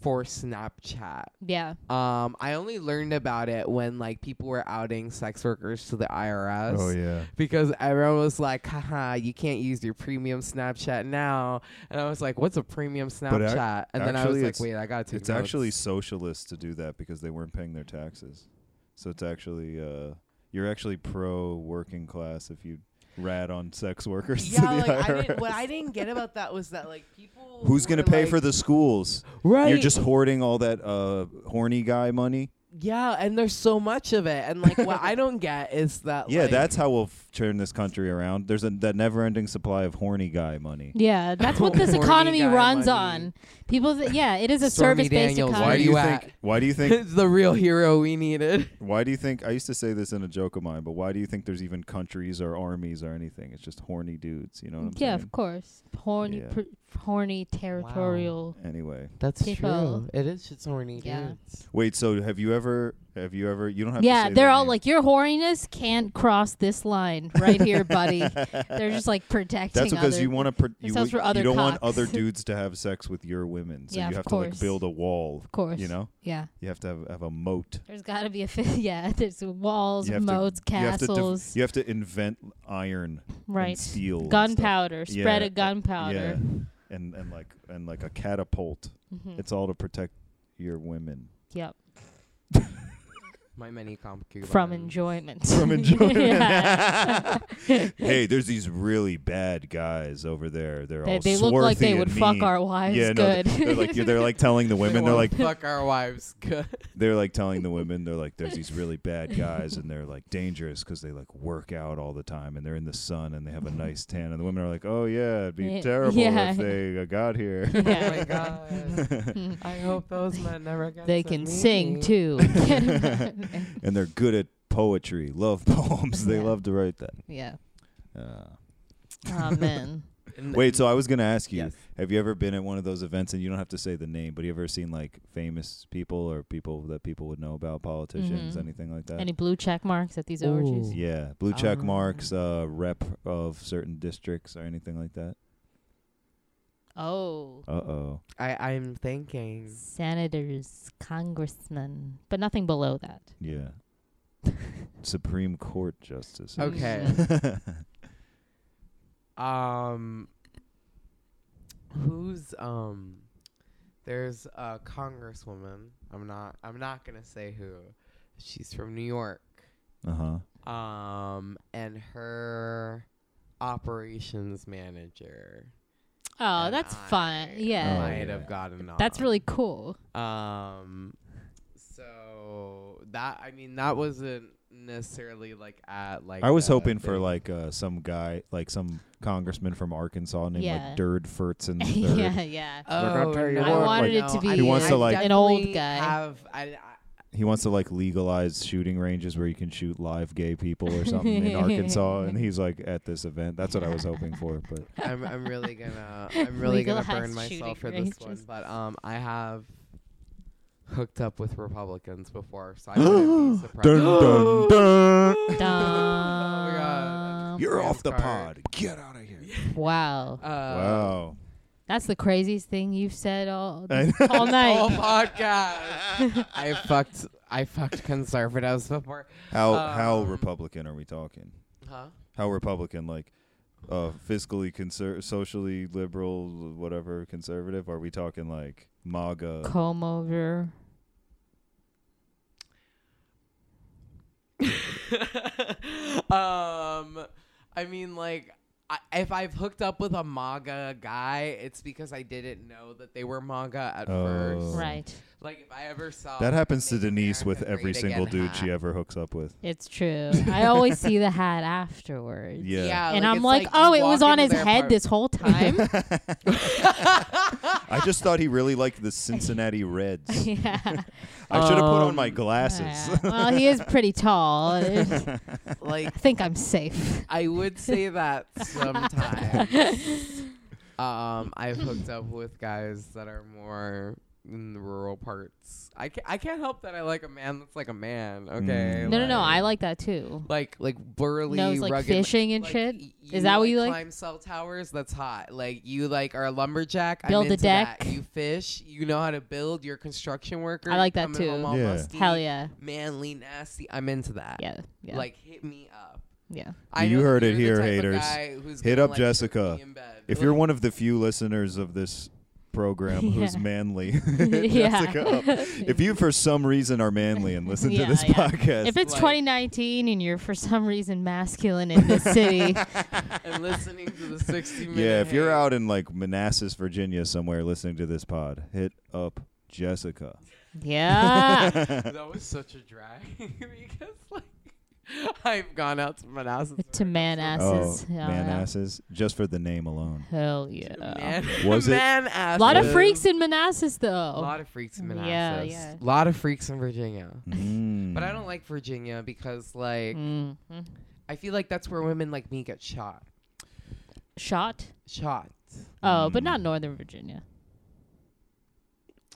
S1: for Snapchat.
S2: Yeah.
S1: Um, I only learned about it when like people were outing sex workers to the IRS.
S5: Oh yeah.
S1: Because everyone was like, haha, you can't use your premium Snapchat now. And I was like, what's a premium
S5: But ac-
S1: Snapchat? and then I
S5: actually
S1: was like,
S5: it's-
S1: wait, I got to.
S5: It's actually socialist to do that because they weren't paying their taxes. So it's actually uh, you're actually pro working class if you rat on sex workers.
S1: Yeah,
S5: to the
S1: like I didn't,
S5: IRS.
S1: what I didn't get about that was that like people.
S5: Who's gonna
S1: were,
S5: pay
S1: like-
S5: for the schools?
S1: Right.
S5: You're just hoarding all that uh, horny guy money.
S1: yeah, and there's so much of it, and like what I don't get is that
S5: Yeah,
S1: like,
S5: that's how we'll f- turn this country around. There's a, that never-ending supply of horny guy money.
S2: Yeah, that's what this
S1: Horny
S2: economy
S1: guy
S2: runs
S1: money.
S2: on. People, th- yeah, it is a
S1: Stormy
S2: service-based
S1: Daniels, Where
S2: economy.
S5: Why do you
S1: you
S5: think?
S1: at?
S5: Why do you think?
S1: it's the real hero we needed.
S5: Why do you think? I used to say this in a joke of mine, but why do you think there's even countries or armies or anything? It's just horny dudes. You know what I'm
S2: yeah,
S5: saying?
S2: of course, horny,
S5: Yeah.
S2: pr- horny, territorial.
S5: Anyway,
S1: That's
S2: People.
S1: It is just horny
S2: Yeah.
S1: dudes.
S5: wait. So have you ever? Have you ever? You don't have.
S2: Yeah,
S5: to
S2: they're
S5: say their
S2: all
S5: name.
S2: like, your horniness can't cross this line right here, buddy. they're just like protecting.
S5: That's because
S2: other-
S5: you want to. Pr- you,
S2: sells for other
S5: you don't want
S2: cocks.
S5: other dudes to have sex with your women, so
S2: Yeah,
S5: you
S2: of
S5: have to like
S2: course.
S5: build a wall.
S2: Of course.
S5: You know,
S2: Yeah.
S5: you have to have, have a moat.
S2: There's got to be a fi- yeah. There's walls,
S5: You have to-
S2: moats,
S5: you have to div-
S2: castles,
S5: You have to invent iron,
S2: right?
S5: And steel, and stuff.
S2: gunpowder, spread
S5: Yeah,
S2: of gunpowder.
S5: Yeah, and and like and like a catapult.
S2: Mhm.
S5: It's all to protect your women.
S2: Yep.
S1: My many concubines.
S2: from enjoyment.
S5: From enjoyment.
S2: Yeah.
S5: hey, there's these really bad guys over there. They're
S2: they,
S5: all
S2: they look like
S5: swarthy
S2: they
S5: and
S2: would fuck
S5: mean.
S2: our wives
S5: yeah,
S2: good.
S5: No, they're like they're like telling the
S1: They
S5: women. They're
S1: wanna
S5: like
S1: fuck our wives. Good.
S5: they're like telling the women. They're like there's these really bad guys and they're like dangerous because they like work out all the time and they're in the sun and they have a nice tan. And the women are like, oh yeah, it'd be
S2: Mm-hmm. Yeah,
S5: terrible
S2: yeah.
S5: if they uh, got here.
S1: Oh
S2: yeah. Mm.
S1: my god. I hope those men never get.
S2: They
S1: to
S2: can
S1: meet
S2: sing
S1: me.
S2: too.
S5: and they're good at poetry, love poems. They
S2: Yeah.
S5: love to write that.
S2: yeah.
S5: Uh,
S2: Amen.
S1: And-
S5: Wait, so I was gonna ask you:
S1: Yes.
S5: Have you ever been at one of those events, and you don't have to say the name, but you ever seen like famous people or people that people would know about, politicians,
S2: Mhm.
S5: anything like that?
S2: Any Um, blue check marks at these orgies?
S5: yeah, blue check
S1: Ah.
S5: marks, uh, rep of certain districts, or anything like that.
S2: Oh.
S5: Uh oh.
S1: I I'm thinking.
S2: Senators, congressmen, but nothing below that.
S5: Yeah. Supreme Court justices.
S1: Okay. Um, who's um, there's a congresswoman. I'm not. I'm not gonna say who. She's from New York.
S5: uh huh.
S1: Um, and her operations manager.
S2: Oh,
S1: and
S2: that's
S1: I
S2: fun. Yeah.
S5: Oh,
S1: might
S5: yeah.
S1: have gotten.
S2: That's
S1: on.
S2: really cool.
S1: Um, so that I mean that wasn't necessarily like at like.
S5: I was
S1: a
S5: hoping for
S1: thing.
S5: like uh, some guy, like some congressman from Arkansas named
S2: Yeah.
S5: like Durd Fertzen. III.
S2: yeah, yeah.
S5: I'll
S1: Oh,
S5: tell you
S1: no.
S5: what, I
S2: wanted it to
S1: I-
S5: be He wants to,
S1: I
S5: like-
S2: an old
S1: definitely
S2: guy.
S1: Have, I, I,
S5: he wants to like legalize shooting ranges where you can shoot live gay people or something in Arkansas, and he's like at this event. That's what I was hoping for, but
S1: I'm, I'm really gonna, I'm really gonna burn
S2: Legalized shooting
S1: myself for this one.
S2: ranges.
S1: But um, I have hooked up with Republicans before, so I wouldn't be surprised. Uh,
S5: dun, dun.
S1: Oh my God.
S2: Dumb.
S5: you're off the
S1: Sorry.
S5: pod. Get out of here!
S2: Wow.
S1: Uh,
S5: wow,
S2: That's the craziest thing you've said all
S5: I- Oh.
S2: all
S1: Whole
S2: night.
S1: podcast. I fucked, I fucked conservatives before.
S5: how how
S1: um,
S5: Republican are we talking?
S1: Huh?
S5: How Republican like? Uh, fiscally conser- socially liberal, whatever conservative. Are we talking like MAGA?
S2: Comb over.
S1: um, I mean, like, I, if I've hooked up with a MAGA guy, it's because I didn't know that they were MAGA at
S5: Oh.
S1: first.
S2: Right.
S1: Like, if I ever saw
S5: That happens to
S1: Make
S5: Denise with
S1: America
S5: every
S1: Great
S5: single
S1: Again
S5: dude
S1: hat.
S5: she ever hooks up with.
S2: It's true. I always see the hat afterwards.
S5: Yeah.
S2: And
S1: like,
S2: I'm
S1: it's
S2: like,
S1: you
S2: oh, it was
S1: walk
S2: on
S1: into their
S2: his head
S1: apart-
S2: this whole time.
S5: I just thought he really liked the Cincinnati Reds.
S2: yeah.
S5: I should have put on my
S1: Um,
S5: glasses.
S2: Yeah. Well, he is pretty tall. I
S1: like,
S2: think I'm safe.
S1: I would say that sometimes. um, I've hooked up with guys that are more in the rural parts. I can't, I can't help that I like a man that's like a man. Okay.
S5: Mm.
S2: No, no, no. I like that too.
S1: like like burly,
S2: Knows like
S1: rugged,
S2: fishing and
S1: like,
S2: shit.
S1: y-
S2: Is that what you like?
S1: Climb cell towers. That's hot. Like you like are a lumberjack.
S2: Build
S1: I'm
S2: a
S1: into that.
S2: deck.
S1: You fish. You know how to build. You're a construction worker.
S2: I like
S1: you
S2: that
S1: come
S2: too.
S1: Home all
S5: Yeah.
S1: Musty,
S2: Hell yeah.
S1: Manly, nasty. I'm into that.
S2: Yeah. Yeah.
S1: Like hit me up.
S2: yeah.
S1: I
S5: You
S1: know
S5: heard
S1: that
S5: it
S1: you're the
S5: here,
S1: type of
S5: haters.
S1: guy who's
S5: Hit
S1: gonna,
S5: up
S1: like, put
S5: Jessica.
S1: me in bed.
S5: If
S1: Like,
S5: you're one of the few listeners of this program who's
S2: Yeah.
S5: manly,
S2: Yeah.
S5: Jessica, up. if you for some reason are manly and listen
S2: Yeah,
S5: to this
S2: yeah.
S5: podcast,
S2: If it's
S1: like-
S2: 2019 and you're for some reason masculine in this city,
S1: and listening to the 60 minute.
S5: yeah, if you're
S1: hate,
S5: out in like Manassas, Virginia, somewhere listening to this pod, hit up Jessica.
S2: yeah.
S1: that was such a drag because like I've gone out to Manassas
S2: to
S1: where I
S2: man
S1: live.
S2: asses.
S5: Oh,
S2: yeah,
S5: Manasses, just for the name alone.
S2: yeah. Hell yeah.
S1: Man,
S5: Was it-
S1: man
S2: A lot of
S1: asses.
S2: freaks in Manassas, though.
S1: A lot of freaks in
S2: Yeah,
S1: Manassas.
S2: yeah.
S1: A lot of freaks in Virginia.
S5: Mm.
S1: But I don't like Virginia because like
S2: Mhm.
S1: I feel like that's where women like me get shot.
S2: Shot?
S1: Shot.
S2: Oh, but
S5: Mm.
S2: not Northern Virginia.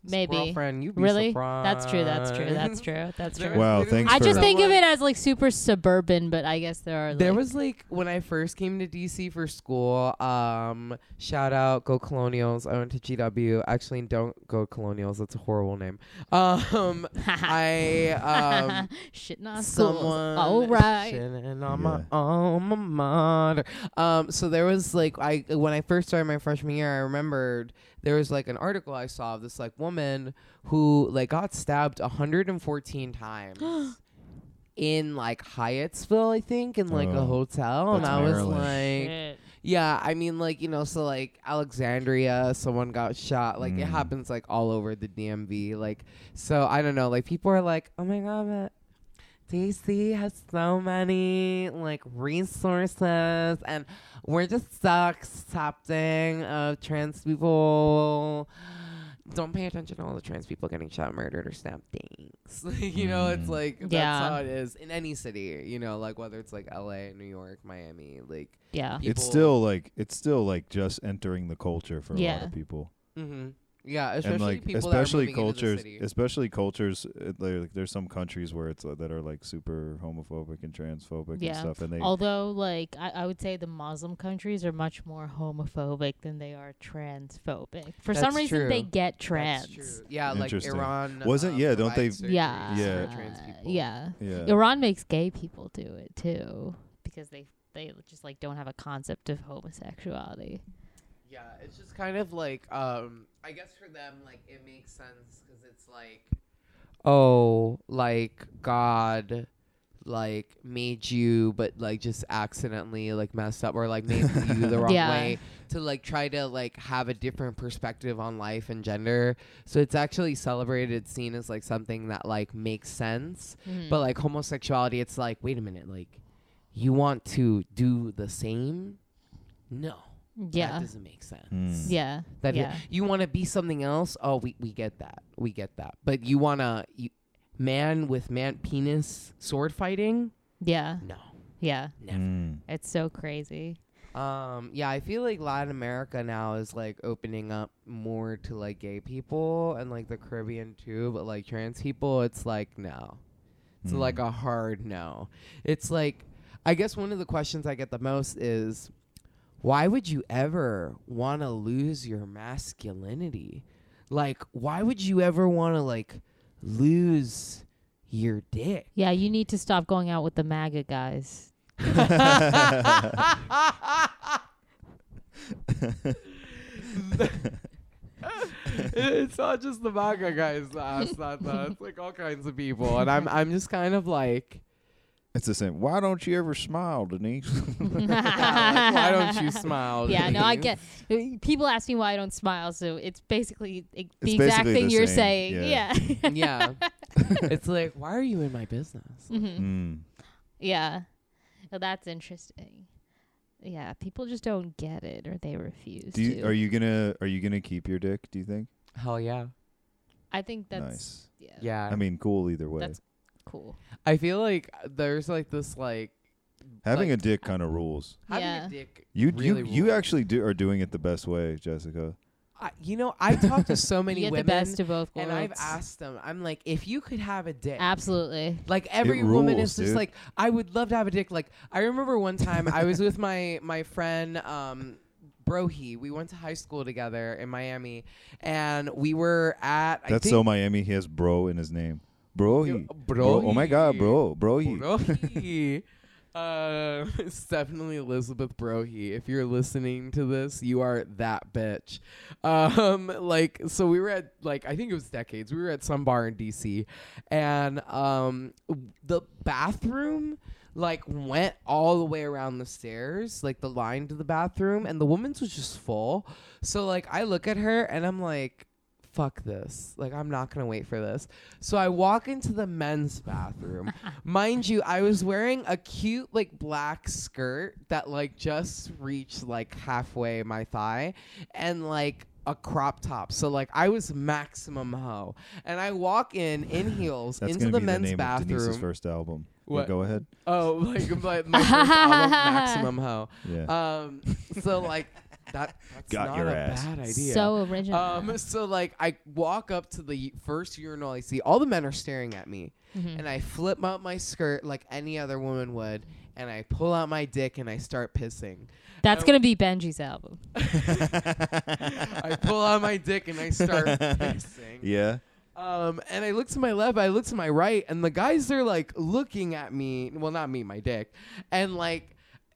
S2: Maybe.
S1: Girlfriend, you be
S2: Really?
S1: Surprised.
S2: That's true. That's true. That's true. That's
S1: There
S2: true.
S1: was
S5: Wow,
S1: literally
S5: thanks
S2: I just
S5: for-
S2: think of
S1: someone-
S2: it as like super suburban, but I guess there are.
S1: There
S2: like-
S1: was like when I first came to DC for school. Um, shout out Go Colonials. I went to GW. Actually, don't go Colonials. That's a horrible name. Um, I
S2: shitting
S1: um,
S2: on schools.
S1: someone
S2: All right.
S1: shitting on my
S5: Yeah.
S1: alma mater. Um, so there was like I when I first started my freshman year, I remembered there was like an article I saw of this like woman who like got stabbed 114 times in like Hyattsville, I think, in like a
S5: Oh,
S1: hotel, and
S5: that's
S1: I was
S5: Maryland.
S1: like,
S2: Shit.
S1: yeah, I mean, like you know, so like Alexandria, someone got shot. Like it
S5: Mm.
S1: happens like all over the DMV. Like so, I don't know. Like people are like, oh my god, but DC has so many like resources, and we're just stuck accepting of trans people. Don't pay attention to all the trans people getting shot, murdered, or stabbed. Thanks. Like, you know, it's
S5: Mm.
S1: like that's
S2: Yeah.
S1: how it is in any city. You know, like whether it's like LA, New York, Miami, like.
S2: Yeah.
S5: It's
S1: people-
S5: still like it's still like just entering the culture for a lot
S2: Yeah.
S5: of people.
S1: Mm-hmm. Yeah, especially
S5: and like
S1: people
S5: especially
S1: that are moving
S5: cultures
S1: Into the city.
S5: especially cultures uh, like there's some countries where it's uh, that are like super homophobic and transphobic and
S2: Yeah.
S5: stuff and they
S2: Although, like, I, I would say the Muslim countries are much more homophobic than they are transphobic. For some
S1: That's
S2: reason,
S1: true.
S2: they get
S1: That's
S2: trans.
S1: true. Yeah, like
S5: Interesting.
S1: Iran
S5: Wasn't-
S1: uh,
S5: yeah, don't
S1: provides
S5: they-
S1: surgeries
S2: Yeah.
S5: Yeah.
S1: for trans people.
S2: Yeah.
S5: yeah
S2: Iran makes gay people do it too because they they just like don't have a concept of homosexuality.
S1: Yeah, it's just kind of like um I guess for them like it makes sense cuz it's like oh, like God like made you but like just accidentally like messed up or like made you the wrong
S2: Yeah.
S1: way to like try to like have a different perspective on life and gender. So it's actually celebrated seen as like something that like makes sense. But like homosexuality, it's like, wait a minute, like you want to do the same? No.
S2: yeah.
S1: That doesn't make sense.
S5: Mm.
S2: yeah.
S1: That
S2: yeah.
S1: you want to be something else? Oh, we, we get that. We get that. But you want to you, man with man penis sword fighting?
S2: yeah.
S1: No.
S2: Yeah.
S1: Never.
S5: Mm.
S2: It's so crazy.
S1: Um yeah, I feel like Latin America now is like opening up more to like gay people and like the Caribbean too, but like trans people it's like no. It's
S5: Mm.
S1: like a hard no. It's like, I guess one of the questions I get the most is, why would you ever want to lose your masculinity? Like, why would you ever want to like lose your dick?
S2: Yeah, you need to stop going out with the MAGA guys.
S1: it's not just the manga guys that ask that though. It's like all kinds of people, and I'm I'm just kind of like,
S5: it's the same why don't you ever smile denise
S1: yeah, like, why don't you smile?
S2: Yeah, no, I
S1: Denise?
S2: get. People ask me why I don't smile, so it's basically i- the
S5: It's
S2: exact
S5: basically
S2: thing
S5: the
S2: you're
S5: same,
S2: saying. Yeah.
S5: yeah.
S2: Yeah.
S1: yeah. it's like, why are you in my business?
S2: Mhm.
S5: Mm.
S2: yeah. Well, that's interesting. Yeah, people just don't get it or they refuse
S5: do you
S2: to.
S5: are you gonna are you gonna keep your dick do you think
S1: Hell yeah.
S2: I think that's
S5: nice
S2: yeah,
S1: Yeah.
S5: i mean cool either way
S2: That's cool.
S1: I feel like there's like this like
S5: having
S1: like-
S5: a dick kind of rules
S1: having
S2: Yeah.
S1: a dick.
S5: you
S1: really
S5: you you
S1: rules.
S5: actually do are doing it the best way jessica
S1: I, you know, I talk to so many
S2: you get
S1: women
S2: the best of both worlds.
S1: and I've asked them. I'm like, if you could have a dick,
S2: Absolutely.
S1: Like every woman
S5: rules,
S1: is just
S5: dude.
S1: like, I would love to have a dick. Like I remember one time I was with my my friend um Brohi. We went to high school together in Miami and we were at I
S5: that's
S1: think
S5: so miami he has bro in his name bro he
S1: Bro,
S5: oh my god bro bro he
S1: Brohi. Uh, it's definitely Elizabeth Brohi. If you're listening to this, you are that bitch. Um, like so we were at like I think it was decades. We were at some bar in DC, and um, the bathroom like went all the way around the stairs, like the line to the bathroom, and the woman's was just full. So like I look at her and I'm like, fuck this. Like, I'm not going to wait for this. So I walk into the men's bathroom. Mind you, I was wearing a cute, like, black skirt that, like, just reached, like, halfway my thigh and, like, a crop top. So, like, I was maximum hoe. And I walk in, in heels,
S5: that's
S1: into
S5: gonna
S1: the
S5: be
S1: men's
S5: the name of
S1: bathroom.
S5: denise's first album Yeah,
S1: What?
S5: go ahead
S1: Oh, like, my, my first album, maximum hoe.
S5: yeah
S1: Um, so, like, that, that's
S5: Got
S1: not
S5: your
S1: a
S5: ass.
S1: bad idea.
S2: So original.
S1: Um, so like I walk up to the first urinal I see, all the men are staring at me, and I flip out my skirt like any other woman would, and I pull out my dick and I start pissing.
S2: that's gonna be Benji's album.
S1: I pull out my dick and I start pissing.
S5: yeah
S1: Um, and I look to my left, I look to my right, and the guys are like looking at me. Well, not me, my dick, and like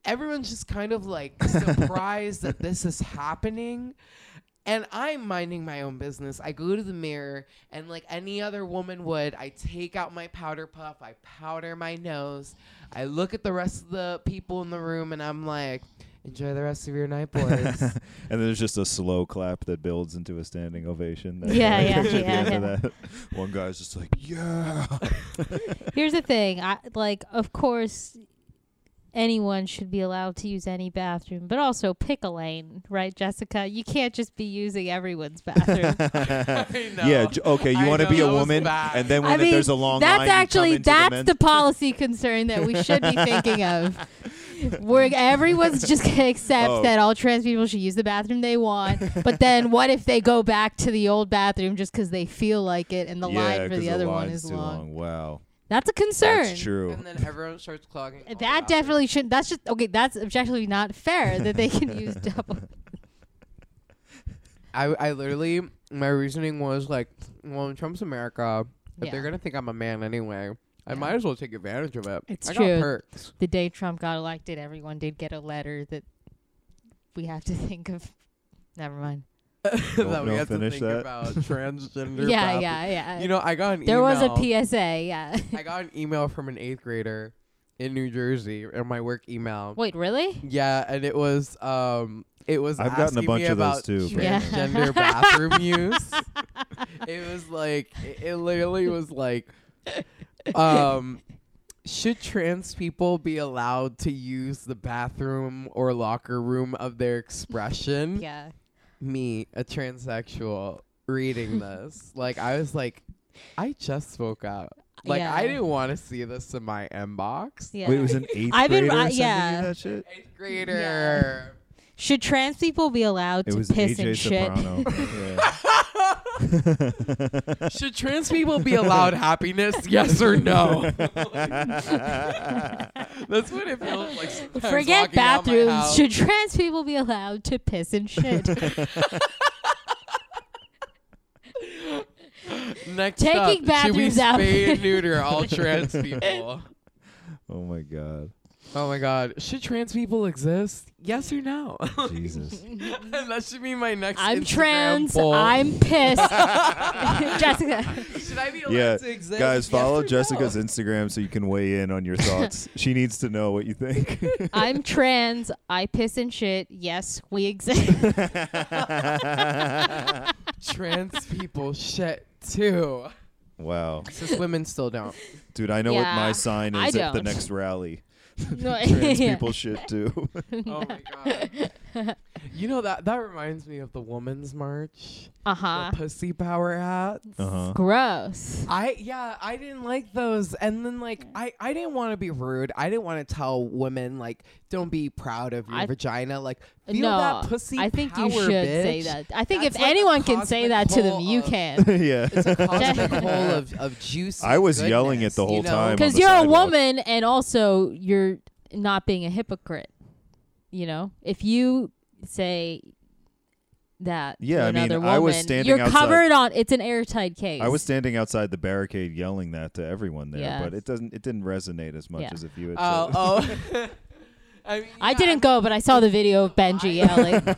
S1: everyone's just kind of like surprised that this is happening. And I'm minding my own business. I go to the mirror, and like any other woman would, I take out my powder puff, I powder my nose, I look at the rest of the people in the room, and I'm like, enjoy the rest of your night, boys.
S5: and then there's just a slow clap that builds into a standing ovation. That's
S2: Yeah,
S5: what I
S2: yeah,
S5: picture at the
S2: yeah,
S5: end
S2: yeah.
S5: of that. One guy's just like, yeah.
S2: Here's the thing. I like of course anyone should be allowed to use any bathroom, but also pick a lane, right, Jessica? You can't just be using everyone's bathroom.
S5: Yeah. j- Okay. You
S1: I
S5: want to be
S1: know,
S5: a
S1: that was
S5: woman,
S1: bad.
S5: and then when
S2: I
S5: it-
S2: mean,
S5: there's a long
S2: that's
S5: line,
S2: actually
S5: you come into
S2: that's
S5: the, men's-
S2: the policy concern that we should be thinking of. Where everyone's just gonna accept
S5: Oh.
S2: that all trans people should use the bathroom they want, but then what if they go back to the old bathroom just because they feel like it, and the
S5: yeah,
S2: line for
S5: 'cause
S2: the other one
S5: line's
S2: is
S5: too
S2: long.
S5: Wow.
S2: That's a concern.
S5: That's true. Oh,
S1: And then everyone starts clogging. all the
S2: That
S1: bathrooms.
S2: definitely shouldn't. That's just okay. That's objectively not fair that they can use double.
S1: I, I literally, my reasoning was like, well, in Trump's America, if
S2: Yeah.
S1: they're going to think I'm a man anyway, I
S2: Yeah.
S1: might as well take advantage of it.
S2: It's
S1: I
S2: true.
S1: Got perks.
S2: The day Trump got elected, everyone did get a letter that we have to think of. Never mind.
S1: that we
S5: no,
S1: have to
S5: finish
S1: think
S5: that.
S1: about transgender.
S2: yeah,
S1: bath-
S2: yeah, yeah.
S1: You know, I got an
S2: there
S1: email.
S2: was a PSA. Yeah.
S1: I got an email from an eighth grader in New Jersey in my work email.
S2: Wait, really?
S1: Yeah, and it was um it was
S5: I've gotten a
S1: asking
S5: bunch
S1: me
S5: of those
S1: about
S5: too,
S2: but- Yeah.
S1: Transgender bathroom use. It was like it, it literally was like um should trans people be allowed to use the bathroom or locker room of their expression?
S2: Yeah.
S1: Me, a transsexual, reading this. like I was like I just woke up. Like
S2: Yeah.
S1: I didn't want to see this in my inbox.
S2: Yeah.
S5: Wait, it was an 8th
S2: I've been-
S5: grader
S2: I-
S5: sending
S2: yeah.
S5: you that shit?
S1: Eighth grader.
S2: Should trans people be allowed
S5: It
S2: to
S5: was
S2: piss
S5: AJ
S2: and
S5: Soprano.
S2: shit?
S1: Should trans people be allowed happiness? Yes or no?
S5: Yeah.
S1: That's what it feels like. sometimes
S2: Forget
S1: walking out my
S2: bathrooms.
S1: house.
S2: Should trans people be allowed to piss and shit?
S1: Next
S2: taking
S1: up, should we
S2: bathrooms out.
S1: spay and neuter all trans people?
S5: oh my god.
S1: Oh my god, should trans people exist? Yes or no?
S5: Jesus.
S1: that should be my next.
S2: I'm
S1: Instagram
S2: trans.
S1: poll.
S2: I'm pissed. Jessica.
S1: Should I be allowed
S5: Yeah,
S1: to exist? Yes
S5: guys, follow
S1: or no?
S5: Jessica's Instagram so you can weigh in on your thoughts. she needs to know what you think.
S2: I'm trans. I piss and shit. Yes, we exist.
S1: Trans people shit too.
S5: wow,
S1: Cis women still don't.
S5: dude, I know what
S2: Yeah,
S5: my sign
S2: I
S5: is at the
S2: don't.
S5: next rally.
S2: No, Uh-huh.
S5: Trans
S2: yeah.
S5: people shit too.
S1: Oh my god. You know that that reminds me of the woman's march.
S2: Uh
S1: the
S2: huh.
S1: pussy power hats.
S5: uh-huh.
S2: Gross.
S1: I yeah, I didn't like those. And then like I I didn't want to be rude. I didn't want to tell women like don't be proud of your
S2: I- Uh,
S1: vagina. Like feel
S2: no,
S1: that pussy
S2: I think
S1: power,
S2: you should say
S1: bitch.
S2: that. I think
S1: That's
S2: if
S1: like a
S2: anyone can
S1: cosmic
S2: say that to them,
S1: hole
S2: you
S1: of-
S2: can.
S5: yeah.
S1: It's a cosmic
S2: Just-
S1: hole of, of juice.
S5: I
S1: and
S5: was yelling
S1: goodness,
S5: it the
S1: you
S5: whole
S1: know?
S5: time.
S2: Because
S5: the
S2: you're a
S5: sidewalk.
S2: woman and also you're not being a hypocrite. You know, if you say that
S5: Yeah,
S2: to
S5: I mean,
S2: another woman,
S5: I was standing
S2: you're
S5: outside-
S2: covered on. It's an airtight case.
S5: I was standing outside the barricade yelling that to everyone there,
S2: Yeah.
S5: but it doesn't. It didn't resonate as much
S2: Yeah.
S5: as if you had.
S1: Oh,
S5: said-
S1: oh. I, mean,
S2: I
S1: yeah,
S2: didn't go, but I saw the video of Benji yelling.
S1: like,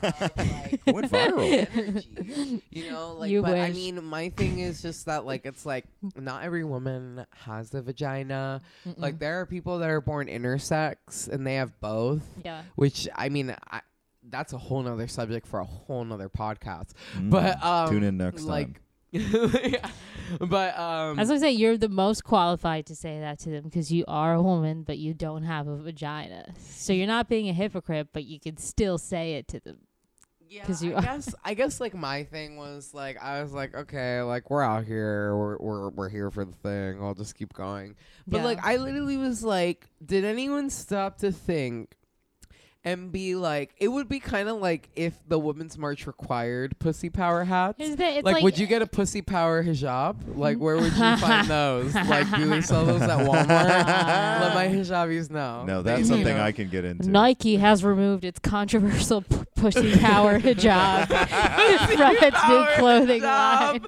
S5: It went viral.
S1: energy, you know, like,
S2: You
S1: but I
S2: wish.
S1: mean, my thing is just that, like, it's like not every woman has a vagina. Like, there are people that are born intersex and they have both,
S2: yeah.
S1: which I mean, I, that's a whole nother subject for a whole nother podcast.
S5: Mm.
S1: But um,
S5: Tune in next
S1: like,
S5: time.
S1: yeah. But um,
S2: As I say, you're the most qualified to say that to them because you are a woman, but you don't have a vagina. So you're not being a hypocrite, but you can still say it to them.
S1: Yeah,
S2: 'Cause you
S1: I
S2: are.
S1: guess I guess like my thing was like I was like okay like we're out here we're we're, we're here for the thing I'll just keep going but
S2: Yeah.
S1: like I literally was like did anyone stop to think and be like it would be kind of like if the women's march required pussy power hats
S2: Here's the thing, it's
S1: like,
S2: like-
S1: would you get a pussy power hijab like where would you find those like do they sell those at Walmart let my hijabis know
S5: no,
S1: They-
S5: that's
S1: you
S5: something
S1: know.
S5: I can get into.
S2: Nike has removed its controversial p- pussy power hijab from its new
S1: Power
S2: clothing
S1: hijab.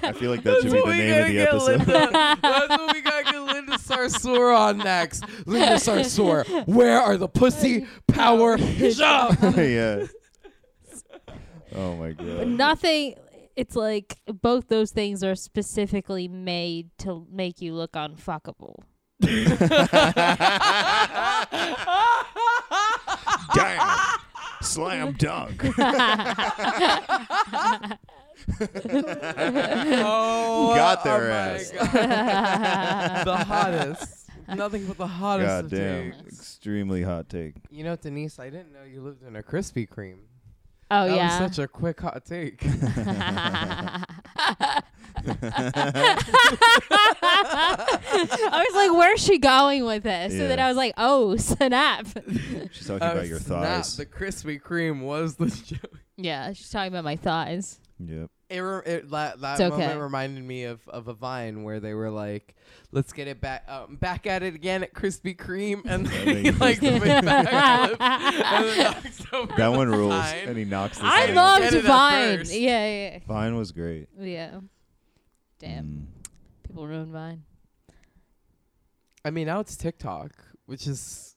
S5: I feel like that should be the
S1: we
S5: name of
S1: gotta
S5: the
S1: get
S5: episode.
S1: Linda. That's what we gotta get Linda Sarsour on next. Linda Sarsour, where are the pussy power hijab?
S5: yeah. Oh my god.
S2: Nothing. It's like both those things are specifically made to make you look unfuckable.
S5: Damn. Slam dunk.
S1: Oh,
S5: Got their
S1: my
S5: ass.
S1: God. the hottest. Nothing but the hottest
S5: God
S1: of
S5: damn.
S1: dudes.
S5: Extremely hot take.
S1: You know, Denise, I didn't know you lived in a Krispy Kreme.
S2: Oh
S1: that
S2: yeah.
S1: was such a quick hot take.
S2: I was like, where's she going with this? So then
S5: Yeah.
S2: I was like, oh, snap.
S5: She's talking about your thighs.
S1: Not the Krispy Kreme was the joke.
S2: yeah, she's talking about my thighs.
S5: yep.
S1: It, re- it that, that
S2: It's
S1: moment
S2: okay.
S1: reminded me of, of a Vine where they were like, "Let's get it back, um, back at it again at Krispy Kreme," and then he,
S5: Krispy
S1: like the big backflip, and then knocks over
S5: That one
S1: the
S5: rules.
S1: sign.
S5: And he knocks the
S2: I
S5: sign.
S1: Get
S2: loved
S1: it at
S2: Vine.
S1: first.
S2: Yeah,
S5: Vine was great.
S2: yeah, yeah. Damn,
S5: Mm.
S2: people ruined Vine.
S1: I mean, now it's TikTok, which is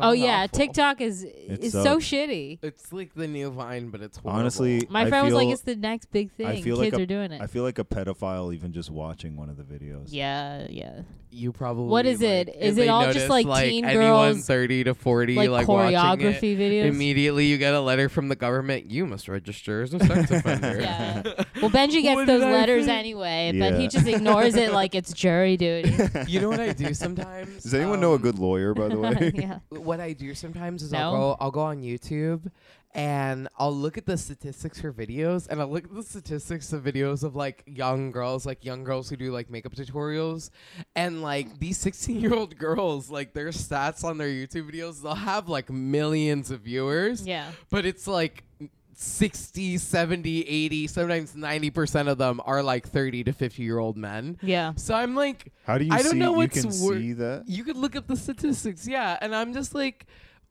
S2: oh
S1: gone
S2: yeah,
S1: awful.
S2: TikTok is is so
S5: sucks.
S2: shitty.
S1: It's like the new Vine, but it's horrible.
S5: Honestly,
S2: My
S5: I
S2: friend was like,
S5: feel-
S2: it's the next big thing.
S5: feel like
S2: Kids
S5: a-
S2: are doing it.
S5: I feel like a pedophile even just watching one of the videos.
S2: yeah, yeah.
S1: you probably
S2: What is
S1: like,
S2: it?
S1: if
S2: Is it
S1: they
S2: all just,
S1: notice,
S2: like,
S1: like
S2: teen
S1: anyone
S2: girls,
S1: thirty to forty
S2: Like,
S1: watching it,
S2: choreography videos.
S1: Immediately, you get a letter from the government. You must register as a sex offender.
S2: Yeah. Well,
S1: What
S2: Benji gets
S1: did
S2: those
S1: I
S2: letters
S1: say?
S2: anyway, but
S5: Yeah.
S2: he just ignores it like it's jury duty.
S1: You know what I do sometimes?
S5: Does anyone know a
S1: Um,
S5: good lawyer, by the way?
S2: yeah.
S1: What I do sometimes is
S2: No?
S1: I'll go I'll go on YouTube and I'll look at the statistics for videos and I'll look at the statistics of videos of like young girls, like young girls who do like makeup tutorials and like these 16 year old girls, like their stats on their YouTube videos, they'll have like millions of viewers.
S2: Yeah.
S1: But it's like 60, 70, 80, sometimes 90% of them are like 30 to 50 year old men.
S2: Yeah.
S1: So I'm like,
S5: How do you
S1: I
S5: see
S1: don't know
S5: you
S1: what's
S5: can
S1: wor-
S5: see that?
S1: you could look up the statistics, yeah. And I'm just like,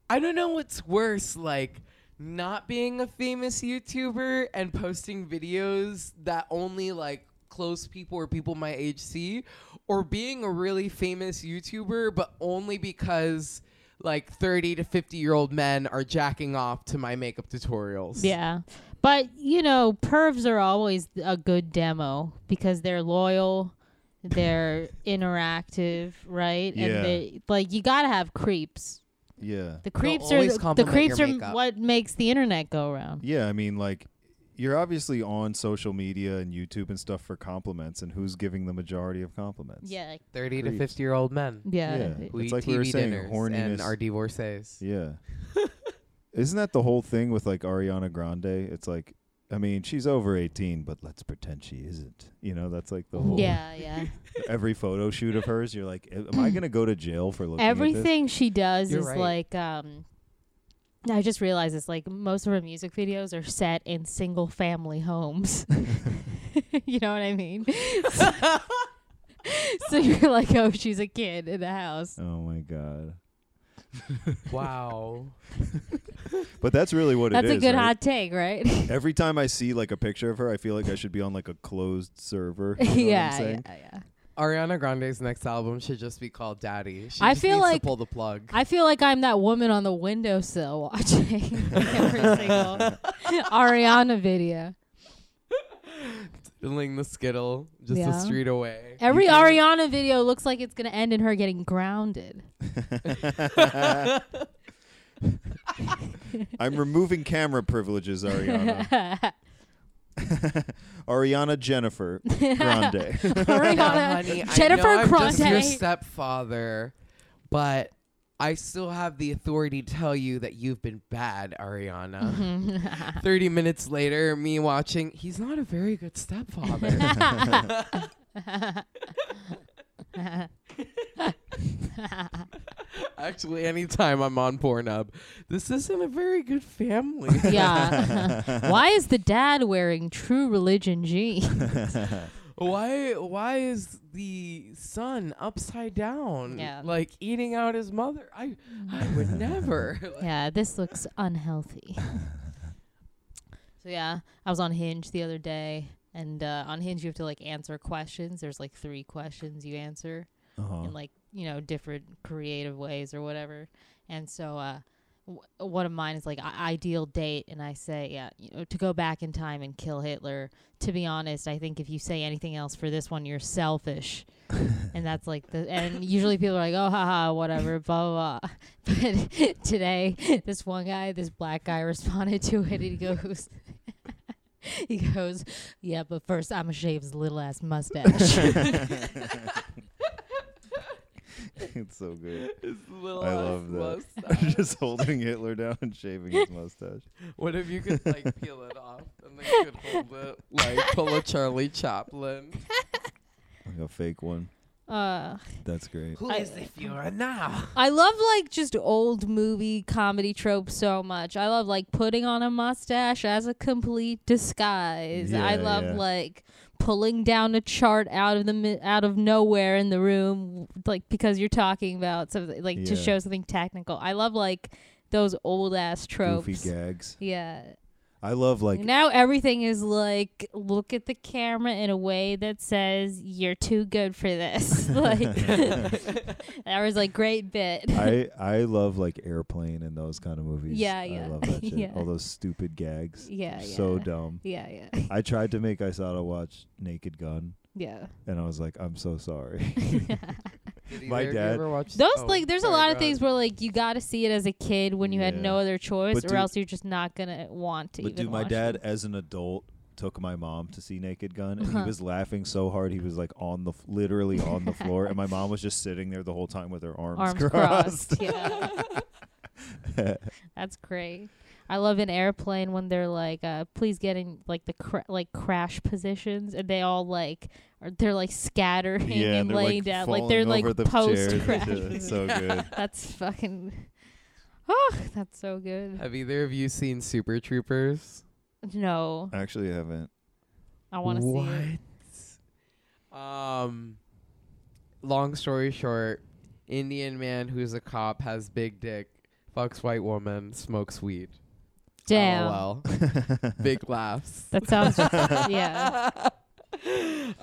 S1: I don't know what's worse, like not being a famous YouTuber and posting videos that only like close people or people my age see, or being a really famous YouTuber, but only because like 30 to 50 year old men are jacking off to my makeup tutorials.
S2: Yeah. But, you know, pervs are always a good demo because they're loyal, they're interactive, right?
S5: Yeah.
S2: And they like you got to have creeps.
S5: Yeah.
S2: The creeps
S1: always
S2: are the, the
S1: compliment
S2: creeps
S1: your
S2: are
S1: makeup.
S2: what makes the internet go around.
S5: Yeah, I mean, like, you're obviously on social media and YouTube and stuff for compliments, and who's giving the majority of compliments?
S2: Yeah.
S1: 30 to
S5: Creeps.
S1: 50 year old men
S2: Yeah.
S5: Yeah.
S1: who
S5: It's
S1: eat
S5: like
S1: TV
S5: we were saying,
S1: dinners and
S5: horniness-
S1: are divorcees.
S5: Yeah. Isn't that the whole thing with like Ariana Grande? It's like, I mean, she's over 18, but let's pretend she isn't. You know, that's like the whole.
S2: Yeah, yeah.
S5: Every photo shoot of hers, you're like, am I gonna go to jail for looking at this?
S2: Everything she does
S1: You're
S2: is
S1: right.
S2: like um I just realized it's like most of her music videos are set in single family homes. you know what I mean? so you're like, oh, she's a kid in a house.
S5: Oh my god!
S1: Wow.
S5: But that's really what
S2: That's
S5: it is.
S2: a good
S5: right?
S2: hot take, right?
S5: Every time I see like a picture of her, I feel like I should be on like a closed server. You know what I'm
S2: yeah, yeah,
S5: saying?
S2: yeah.
S1: Ariana Grande's next album should just be called Daddy. She
S2: I
S1: just
S2: feel
S1: needs
S2: like-
S1: to pull the plug.
S2: I feel like I'm that woman on the windowsill watching every single Ariana video.
S1: Filling the skittle just
S2: Yeah.
S1: a street away.
S2: Every
S1: You can-
S2: Ariana video looks like it's gonna end in her getting grounded.
S5: I'm removing camera privileges, Ariana. Ariana Jennifer Grande.
S1: Now,
S2: Ariana,
S1: honey,
S2: Jennifer
S1: I know I'm just your
S2: Grande.
S1: stepfather, but I still have the authority to tell you that you've been bad,
S2: Mm-hmm.
S1: Ariana. Thirty minutes later, me watching. He's not a very good stepfather. Actually, anytime I'm on Pornhub, this isn't a very good family.
S2: yeah. Why is the dad wearing True Religion jeans?
S1: Why why is the son upside down?
S2: Yeah.
S1: Like eating out his mother. I I would never. Like,
S2: yeah, this looks unhealthy. So yeah, I was on Hinge the other day, and uh, on Hinge you have to like answer questions. There's like three questions you answer,
S5: Uh-huh.
S2: and like you know different creative ways or whatever and so uh w- one of mine is like I- ideal date and i say yeah you know to go back in time and kill hitler to be honest i think if you say anything else for this one you're selfish and that's like the and usually people are like oh haha whatever blah blah, blah. but today this one guy this black guy responded to it and he goes he goes yeah but first i'm gonna shave his little ass mustache
S5: it's so good.
S1: His little
S5: I
S1: ass
S5: love that.
S1: mustache.
S5: Just holding Hitler down and shaving his mustache.
S1: What if you could like peel it off and then you could hold it like pull a Charlie Chaplin?
S5: Like a fake one.
S2: uh
S5: That's great.
S1: Who
S2: I-
S1: is if you are now?
S2: I love like just old movie comedy tropes so much. I love like putting on a mustache as a complete disguise. I
S5: Yeah,
S2: love
S5: yeah.
S2: like pulling down a chart out of the mi- out of nowhere in the room like because you're talking about something like to
S5: Yeah.
S2: show something technical. I love like those old ass tropes.
S5: Goofy gags.
S2: Yeah.
S5: I love like
S2: now everything is like look at the camera in a way that says you're too good for this. like that was like great bit.
S5: I I love like airplane and those kind of movies.
S2: Yeah,
S5: I
S2: yeah.
S5: love that shit.
S2: Yeah.
S5: All those stupid gags.
S2: yeah, yeah.
S5: So dumb.
S2: Yeah, yeah,
S5: I tried to make Isada watch Naked Gun,
S2: yeah.
S5: and I was like, I'm so sorry.
S1: Did
S5: My
S1: either of you
S5: dad-
S1: ever watch-
S2: Those
S1: oh,
S2: like, there's a
S1: sorry,
S2: lot
S1: go
S2: of
S1: ahead.
S2: things where like you got to see it as a kid when you had
S5: Yeah.
S2: no other choice,
S5: But
S2: or
S5: dude-
S2: else you're just not gonna want to.
S5: but
S2: even
S5: dude, my
S2: watch
S5: dad,
S2: it.
S5: as an adult, took my mom to see Naked Gun, and
S2: Uh-huh.
S5: he was laughing so hard he was like on the f- literally on the floor, and my mom was just sitting there the whole time with her arms,
S2: arms
S5: crossed.
S2: crossed. yeah, that's great. I love an airplane when they're like, uh, please get in like the cra- like crash positions, and they all like are they're like scattering
S5: yeah,
S2: and
S5: they're
S2: laying
S5: like
S2: down,
S5: falling
S2: like they're like
S5: over the
S2: post
S5: chairs.
S2: crash.
S5: Yeah, it's so good.
S2: that's fucking. Oh, that's so good.
S1: Have either of you seen Super Troopers?
S2: No,
S5: Actually, I haven't.
S2: I want to see it.
S1: What? Um, long story short, Indian man who's a cop has big dick, fucks white woman, smokes weed.
S2: Damn.
S5: Oh,
S1: LOL. big laughs.
S2: That sounds yeah.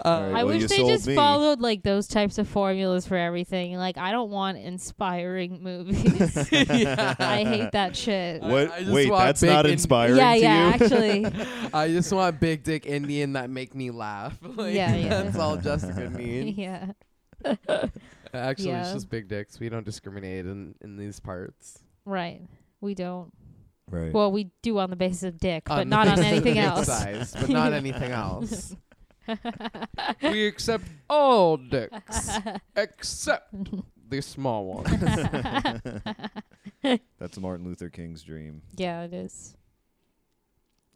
S5: All right,
S2: I
S5: well,
S2: wish
S5: you
S2: they
S5: sold
S2: just
S5: me.
S2: followed like those types of formulas for everything. Like I don't want inspiring movies. I hate that shit.
S1: I-
S5: What?
S1: I just
S5: Wait,
S1: want
S5: that's
S1: big
S5: not
S1: in-
S5: inspiring
S2: yeah,
S5: to
S2: yeah,
S5: you.
S2: actually.
S1: I just want big dick Indian that make me laugh. Like,
S2: Yeah, yeah.
S1: That's all Jessica needs.
S2: yeah.
S1: Actually, it's
S2: Yeah.
S1: just big dicks. We don't discriminate in, in these parts.
S2: Right. We don't.
S5: right.
S2: Well, we do on the basis of dick, but
S1: the
S2: not on
S1: basis of
S2: anything
S1: dick
S2: else.
S1: size, but not anything else. we accept all dicks except the small one.
S5: That's Martin Luther King's dream.
S2: yeah, it is.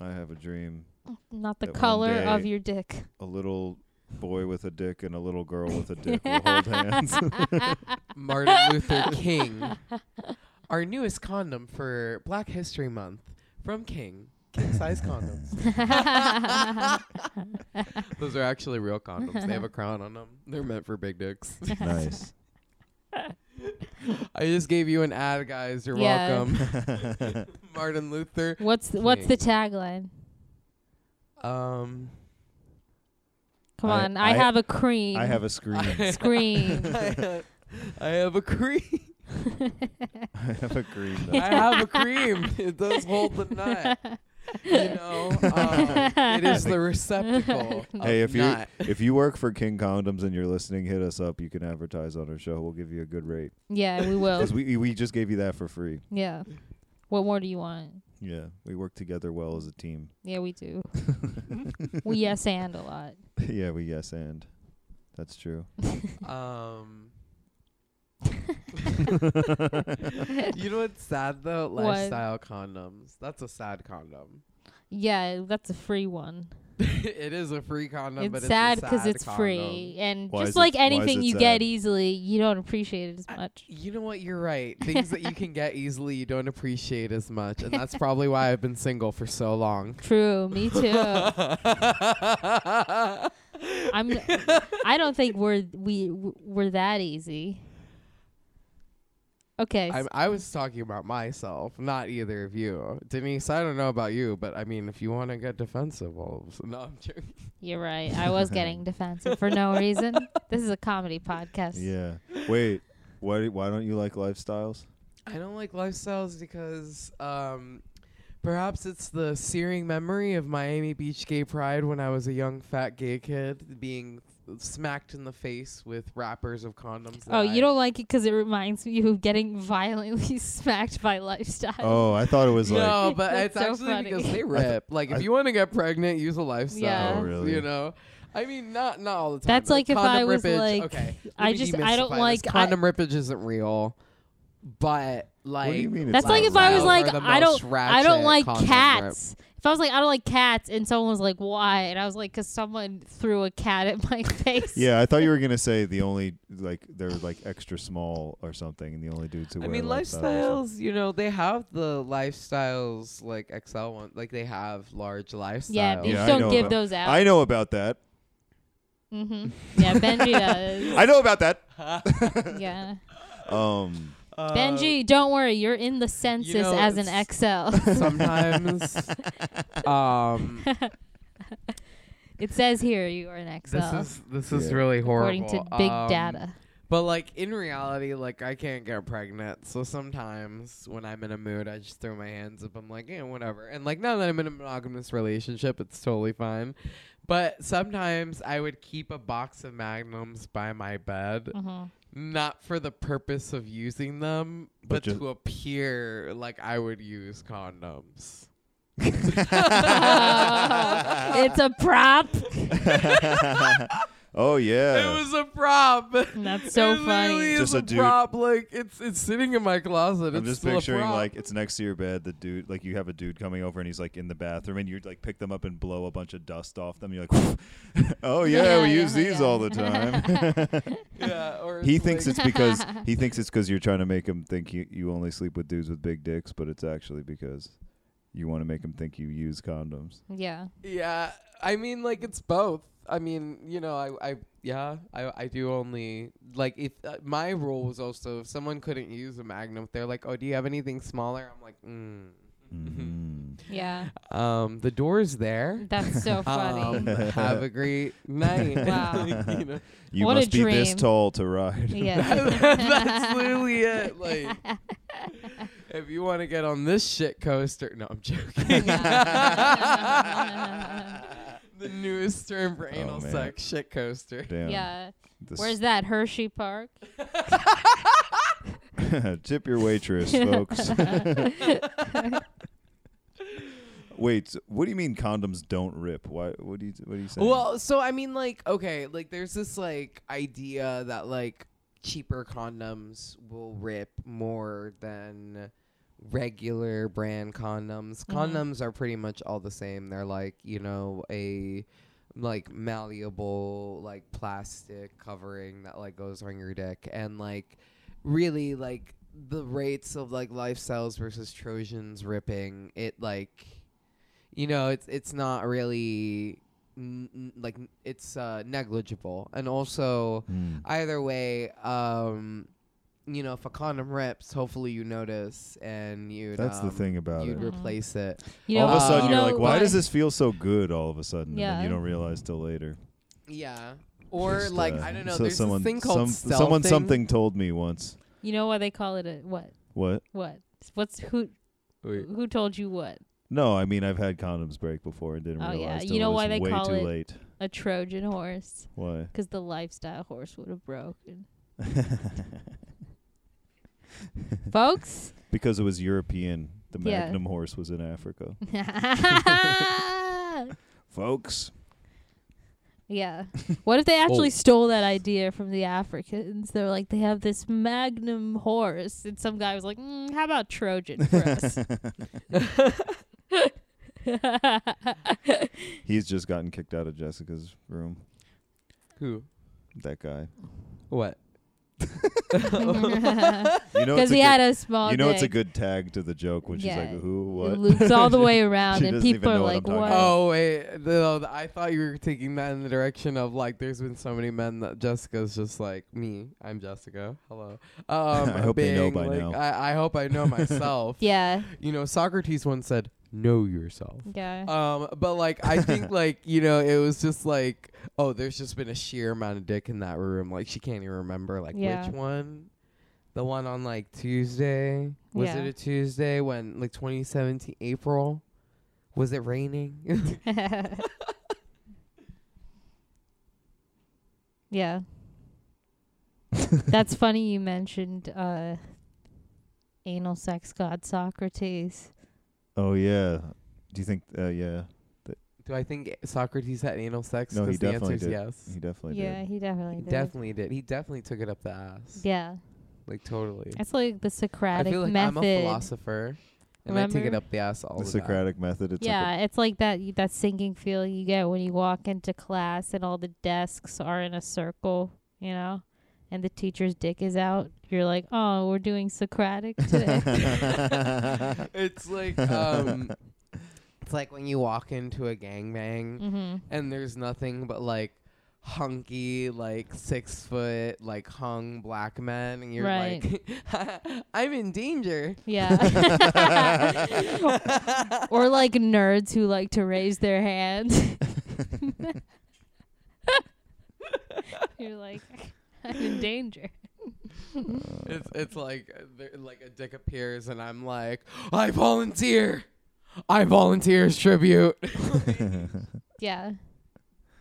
S5: I have a dream.
S2: Not the
S5: That one
S2: color
S5: day-
S2: of your dick.
S5: A little boy with a dick and a little girl with a dick will hold hands.
S1: Martin Luther King. Our newest condom for Black History Month from King. King size condoms. Those are actually real condoms. They have a crown on them. They're meant for big dicks.
S5: nice.
S1: I just gave you an ad, guys. You're
S2: Yeah.
S1: welcome. Martin Luther.
S2: What's the, what's
S1: King.
S2: the tagline?
S1: Um,
S2: Come
S5: I-
S2: on, I,
S5: I-
S2: have a cream.
S5: I have a scream.
S1: I-
S2: scream.
S1: I have a cream.
S5: I have a cream.
S1: I
S5: That
S1: have a cream. It does hold the nut. You know, um, it is the receptacle. of
S5: Hey, if you
S1: nut.
S5: if you work for King Condoms and you're listening, hit us up. You can advertise on our show. We'll give you a good rate
S2: yeah, we will.
S5: because we we just gave you that for free.
S2: Yeah. What more do you want?
S5: Yeah, we work together well as a team.
S2: Yeah, we do. we yes and a lot.
S5: yeah, we yes and that's true.
S1: Um, you know what's sad though?
S2: What?
S1: Lifestyle condoms. That's a sad condom.
S2: Yeah, that's a free one.
S1: it is a free condom, but
S2: it's
S1: it's
S2: sad
S1: because
S2: it's free, and
S5: Why is
S2: just
S5: it-
S2: like
S5: why is
S2: anything
S5: it
S2: you
S5: sad?
S2: get easily, you don't appreciate it as much.
S1: You know what? You're right. Things that you can get easily, you don't appreciate as much, and that's probably why I've been single for so long.
S2: True, me too.
S1: I
S2: I'm. I don't think we're we we're that easy. Okay.
S1: I, I was talking about myself, not either of you. Denise, I don't know about you, but I mean, if you want to get defensive, wolves. No, I'm joking.
S2: You're right. I was getting defensive for no reason. This is a comedy podcast.
S5: Yeah. Wait. Why? do- Why don't you like lifestyles?
S1: I don't like lifestyles because um, perhaps it's the searing memory of Miami Beach Gay Pride when I was a young fat gay kid being smacked in the face with wrappers of condoms. that
S2: Oh,
S1: I-
S2: you don't like it because it reminds you of getting violently smacked by lifestyle.
S5: Oh, I thought it was like.
S1: no, but it's
S2: That's so
S1: actually
S2: funny.
S1: because they
S5: I th-
S1: rip. like, if
S5: I-
S1: you want to get pregnant, use a lifestyle.
S2: Yeah.
S5: Oh, really?
S1: You know, I mean, not not all the time.
S2: That's
S1: but
S2: like if I
S1: condom
S2: was
S1: rippage-
S2: like,
S1: okay.
S2: I
S1: let me
S2: just- I don't
S1: demystify this.
S2: like- I-
S1: condom rippage isn't real, but like
S5: what do you mean? it's
S2: That's
S5: not
S2: like if I was
S5: real?
S1: Lifestyles
S2: like,
S1: are the
S2: I
S1: most
S2: don't, I don't
S1: ratchet
S2: like
S1: condom rip.
S2: cats. If I was like, I don't like cats, and someone was like, why? And I was like, because someone threw a cat at my face.
S5: Yeah, I thought you were gonna say the only like they're like extra small or something, and the only dudes who
S1: I
S5: wear
S1: mean,
S5: lifestyles.
S1: lifestyles, you know, they have the lifestyles like XL one, like they have large lifestyles.
S2: Yeah, but you
S5: Yeah, I
S2: just don't
S5: know
S2: give
S5: about-
S2: those out.
S5: I know about that.
S2: hmm Yeah, Benji does.
S5: I know about that.
S2: yeah.
S5: Um,
S2: Benji, don't worry. You're in the census
S1: Uh, know,
S2: as an
S1: it's-
S2: XL.
S1: Um, sometimes. um,
S2: it says here you are an XL.
S1: this is this is
S5: Yeah.
S1: really horrible.
S2: according to big
S1: Um,
S2: data.
S1: But like in reality, like I can't get pregnant. So sometimes when I'm in a mood, I just throw my hands up. I'm like, yeah, whatever. And like now that I'm in a monogamous relationship, it's totally fine. But sometimes I would keep a box of magnums by my bed,
S2: hmm
S1: not for the purpose of using them, but,
S5: But ju-
S1: to appear like I would use condoms.
S2: it's a prop.
S5: oh
S1: It
S5: yeah.
S1: was a prop.
S2: That's so
S1: It literally
S2: funny.
S1: is
S5: Just
S1: a,
S5: a dude-
S1: prop. Like it's it's sitting in my closet.
S5: I'm
S1: it's
S5: just
S1: still a
S5: picturing
S1: prop.
S5: like it's next to your bed. The dude, like you have a dude coming over and he's like in the bathroom, and you like pick them up and blow a bunch of dust off them. You're like, oh yeah,
S2: Yeah,
S5: we
S2: yeah,
S5: use these
S2: yeah.
S5: all the time.
S1: yeah, or
S5: he
S1: it's
S5: thinks
S1: like-
S5: it's because he thinks it's because you're trying to make him think you, you only sleep with dudes with big dicks, but it's actually because you want to make him think you use condoms.
S2: Yeah.
S1: Yeah, I mean, like it's both. I mean, you know, I, I, yeah, I, I do only like if uh, my rule was also if someone couldn't use a Magnum, if they're like, oh, do you have anything smaller? I'm like, mm.
S5: Mm.
S2: Yeah.
S1: um, the door's there.
S2: That's so funny.
S1: Um, have a great night.
S2: Wow.
S1: You know?
S5: You
S2: What a
S5: must be this
S2: dream.
S5: tall to ride.
S2: yeah.
S1: That's literally it. Like, if you want to get on this shit coaster, no, I'm joking. the newest term for anal
S5: man.
S1: sex, shit coaster.
S5: Damn.
S2: yeah.
S5: This-
S2: Where's that? Hershey Park?
S5: Tip your waitress, folks. Wait, so what do you mean condoms don't rip? Why? What do you? What do you say?
S1: Well, so I mean, like, okay, like, there's this like idea that like cheaper condoms will rip more than regular brand condoms. Condoms are pretty much all the same. They're like, you know, a like malleable like plastic covering that like goes on your dick and like really like the rates of like lifestyles versus trojans ripping it like you know it's it's not really n- n- like n- it's uh negligible and also
S5: Hmm.
S1: either way um you know if a condom rips hopefully you notice and you um,
S5: That's the thing about
S1: you'd
S5: it.
S1: replace it
S2: You
S5: all of
S1: know,
S5: a sudden,
S1: you
S5: you're
S1: know
S5: like, "Why does
S2: what?
S5: this feel so good?" All of a sudden, and
S2: Yeah.
S5: then you don't realize till later.
S1: yeah or
S5: Just,
S1: like
S5: uh,
S1: i don't know
S5: so
S1: there's
S5: someone,
S1: this thing called
S5: some- someone
S1: stealthing.
S5: something told me once.
S2: You know why they call it a what?
S5: What?
S2: What? What's who? Who told you what?
S5: No, I mean I've had condoms break before and didn't
S2: Oh,
S5: realize.
S2: yeah.
S5: till
S2: You
S5: it
S2: know
S5: was
S2: why they
S5: way
S2: call
S5: too
S2: it-
S5: late.
S2: A Trojan horse.
S5: Why?
S2: Because the lifestyle horse would have broken. Folks.
S5: because it was European. The
S2: Yeah.
S5: Magnum horse was in Africa,
S2: yeah.
S5: folks.
S2: What if they actually
S1: Oh.
S2: stole that idea from the Africans? They're like, they have this magnum horse. And some guy was like, mm, how about Trojan for us?
S5: He's just gotten kicked out of Jessica's room.
S1: who
S5: That guy.
S1: what
S5: You know,
S2: because
S5: it's a
S2: he
S5: good-
S2: had a small.
S5: You know, it's a
S2: dick.
S5: good tag to the joke when
S2: Yeah.
S5: she's like, "Who?
S2: It
S5: What?"
S2: loops all the way around,
S5: she
S2: and
S5: doesn't even
S2: people are
S5: know what
S2: like,
S5: I'm talking
S2: "What?"
S5: about.
S1: Oh wait, no, th- I thought you were taking that in the direction of like. There's been so many men that Jessica's just like me. I'm Jessica. Hello. Um,
S5: I hope they
S1: being,
S5: know by
S1: like,
S5: now.
S1: I, I hope I know myself.
S2: Yeah,
S1: You know, Socrates once said, "Know yourself."
S2: yeah.
S1: Um, but like, I think like you know, it was just like, oh, there's just been a sheer amount of dick in that room. Like she can't even remember like
S2: Yeah.
S1: which one. The one on like Tuesday. Was
S2: Yeah.
S1: it a Tuesday when like 2017 April? Was it raining?
S2: yeah. That's funny you mentioned uh anal sex god Socrates.
S5: oh yeah. Do you think? Uh, yeah,
S1: Do I think Socrates had anal sex?
S5: No, he
S1: 'Cause the answer
S5: definitely
S1: is
S5: did.
S1: yes.
S5: he definitely
S2: Yeah,
S5: did.
S2: he definitely
S1: He
S2: did.
S1: definitely did. He definitely took it up the ass.
S2: Yeah.
S1: Like totally.
S2: That's like the
S1: I
S2: Socratic
S1: feel like I'm
S2: method.
S1: a philosopher. And I take it
S2: Remember?
S1: up the ass all
S5: The
S1: the time.
S5: Socratic method. It's
S2: yeah,
S5: like
S2: it's like that that sinking feel you get when you walk into class and all the desks are in a circle, you know, and the teacher's dick is out. You're like, oh, we're doing Socratic today.
S1: It's like um it's like when you walk into a gangbang
S2: mm-hmm.
S1: and there's nothing but like hunky like six foot like hung black men and you're
S2: Right.
S1: like i'm in danger
S2: Yeah. or like nerds who like to raise their hand. You're like, I'm in danger.
S1: it's, it's like uh, there- like a dick appears and i'm like i volunteer i volunteer as tribute
S2: Yeah.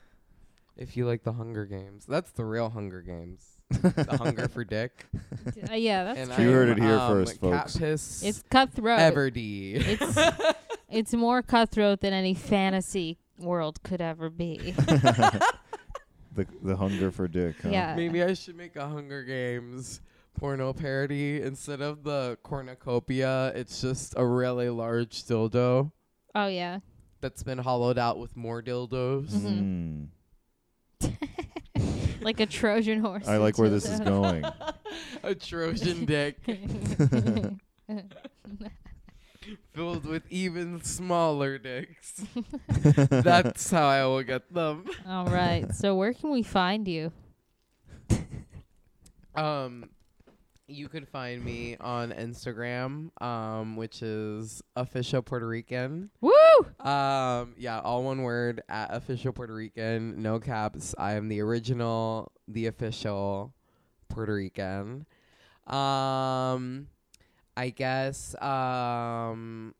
S1: if you like the hunger games that's the real hunger games the hunger for dick
S2: D- uh, yeah, that's
S1: and
S5: true. You
S1: I
S5: heard
S1: am,
S5: it here
S1: um,
S5: first, folks.
S1: cat piss
S2: it's cutthroat.
S1: Everdee.
S2: It's it's more cutthroat than any fantasy world could ever be.
S5: the the hunger for dick. Huh?
S2: Yeah.
S1: Maybe I should make a Hunger Games porno parody instead of the cornucopia. It's just a really large dildo
S2: Oh yeah.
S1: that's been hollowed out with more dildos.
S2: Mm-hmm.
S5: Mm.
S2: Like a Trojan horse.
S5: I like where this is
S2: dildo.
S5: going.
S1: A Trojan dick filled with even smaller dicks. That's how I will get them.
S2: All right. So where can we find you?
S1: Um, you could find me on Instagram, um, which is official Puerto Rican.
S2: Woo!
S1: Um, yeah, all one word at official Puerto Rican, no caps. I am the original, the official Puerto Rican. Um, I guess, um,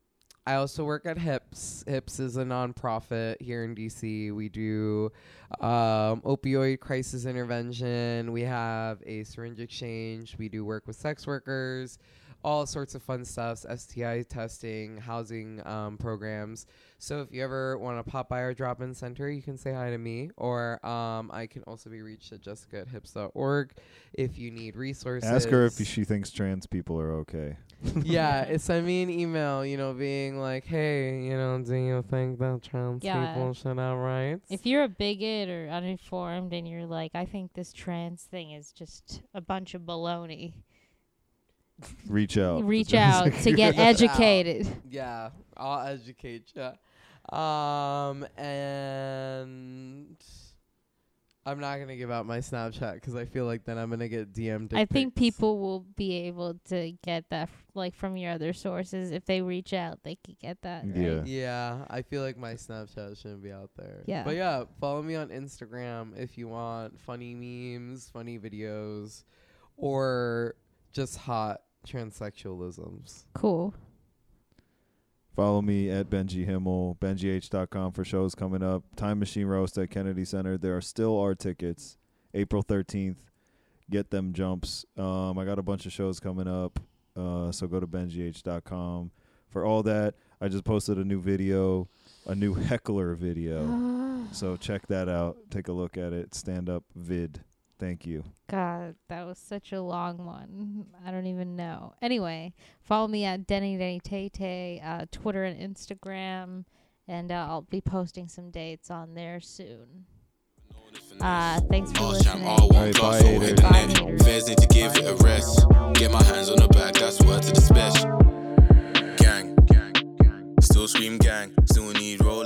S1: I also work at HIPS. HIPS is a nonprofit here in DC. We do um, opioid crisis intervention. We have a syringe exchange. We do work with sex workers, all sorts of fun stuffs, STI testing, housing um, programs. So if you ever want to pop by our drop-in center, you can say hi to me, or um, I can also be reached at jessica at hips.org if you need resources.
S5: Ask her if she thinks trans people are okay.
S1: yeah, it sent me an email, you know, being like, hey, you know, do you think that trans
S2: Yeah.
S1: people should have rights?
S2: If you're a bigot or uninformed and you're like, I think this trans thing is just a bunch of baloney,
S5: Reach out.
S2: reach out to get
S1: Reach out.
S2: educated.
S1: yeah, I'll educate ya. Um, and I'm not going to give out my Snapchat because I feel like then I'm going to get DM'd.
S2: I think people will be able to get that f- like from your other sources if they reach out, they could get that. right?
S5: Yeah.
S1: Yeah, I feel like my Snapchat shouldn't be out there.
S2: Yeah.
S1: But yeah, follow me on Instagram if you want funny memes, funny videos, or just hot transsexualisms.
S2: Cool.
S5: Follow me at Benji Himmel, BenjiH.com for shows coming up. Time Machine Roast at Kennedy Center. There are still are tickets. April 13th. Get them jumps. Um, I got a bunch of shows coming up. Uh, so go to BenjiH.com for all that. I just posted a new video, a new heckler video. so check that out. Take a look at it. Stand up vid. Thank you.
S2: God, that was such a long one. I don't even know. Anyway, follow me at Denny Denny Tay Tay, uh, Twitter and Instagram, and uh, I'll be posting some dates on there soon.
S4: No one is
S2: Uh, thanks for
S4: All
S2: listening.
S4: champ, all one
S5: Alright,
S4: plus,
S5: bye,
S4: all hit
S2: haters.
S4: the
S2: Bye,
S4: net.
S2: haters.
S4: Feds need to give it a rest. Get my hands on the bag, that's word to the special. Gang, still scream gang, still need roll.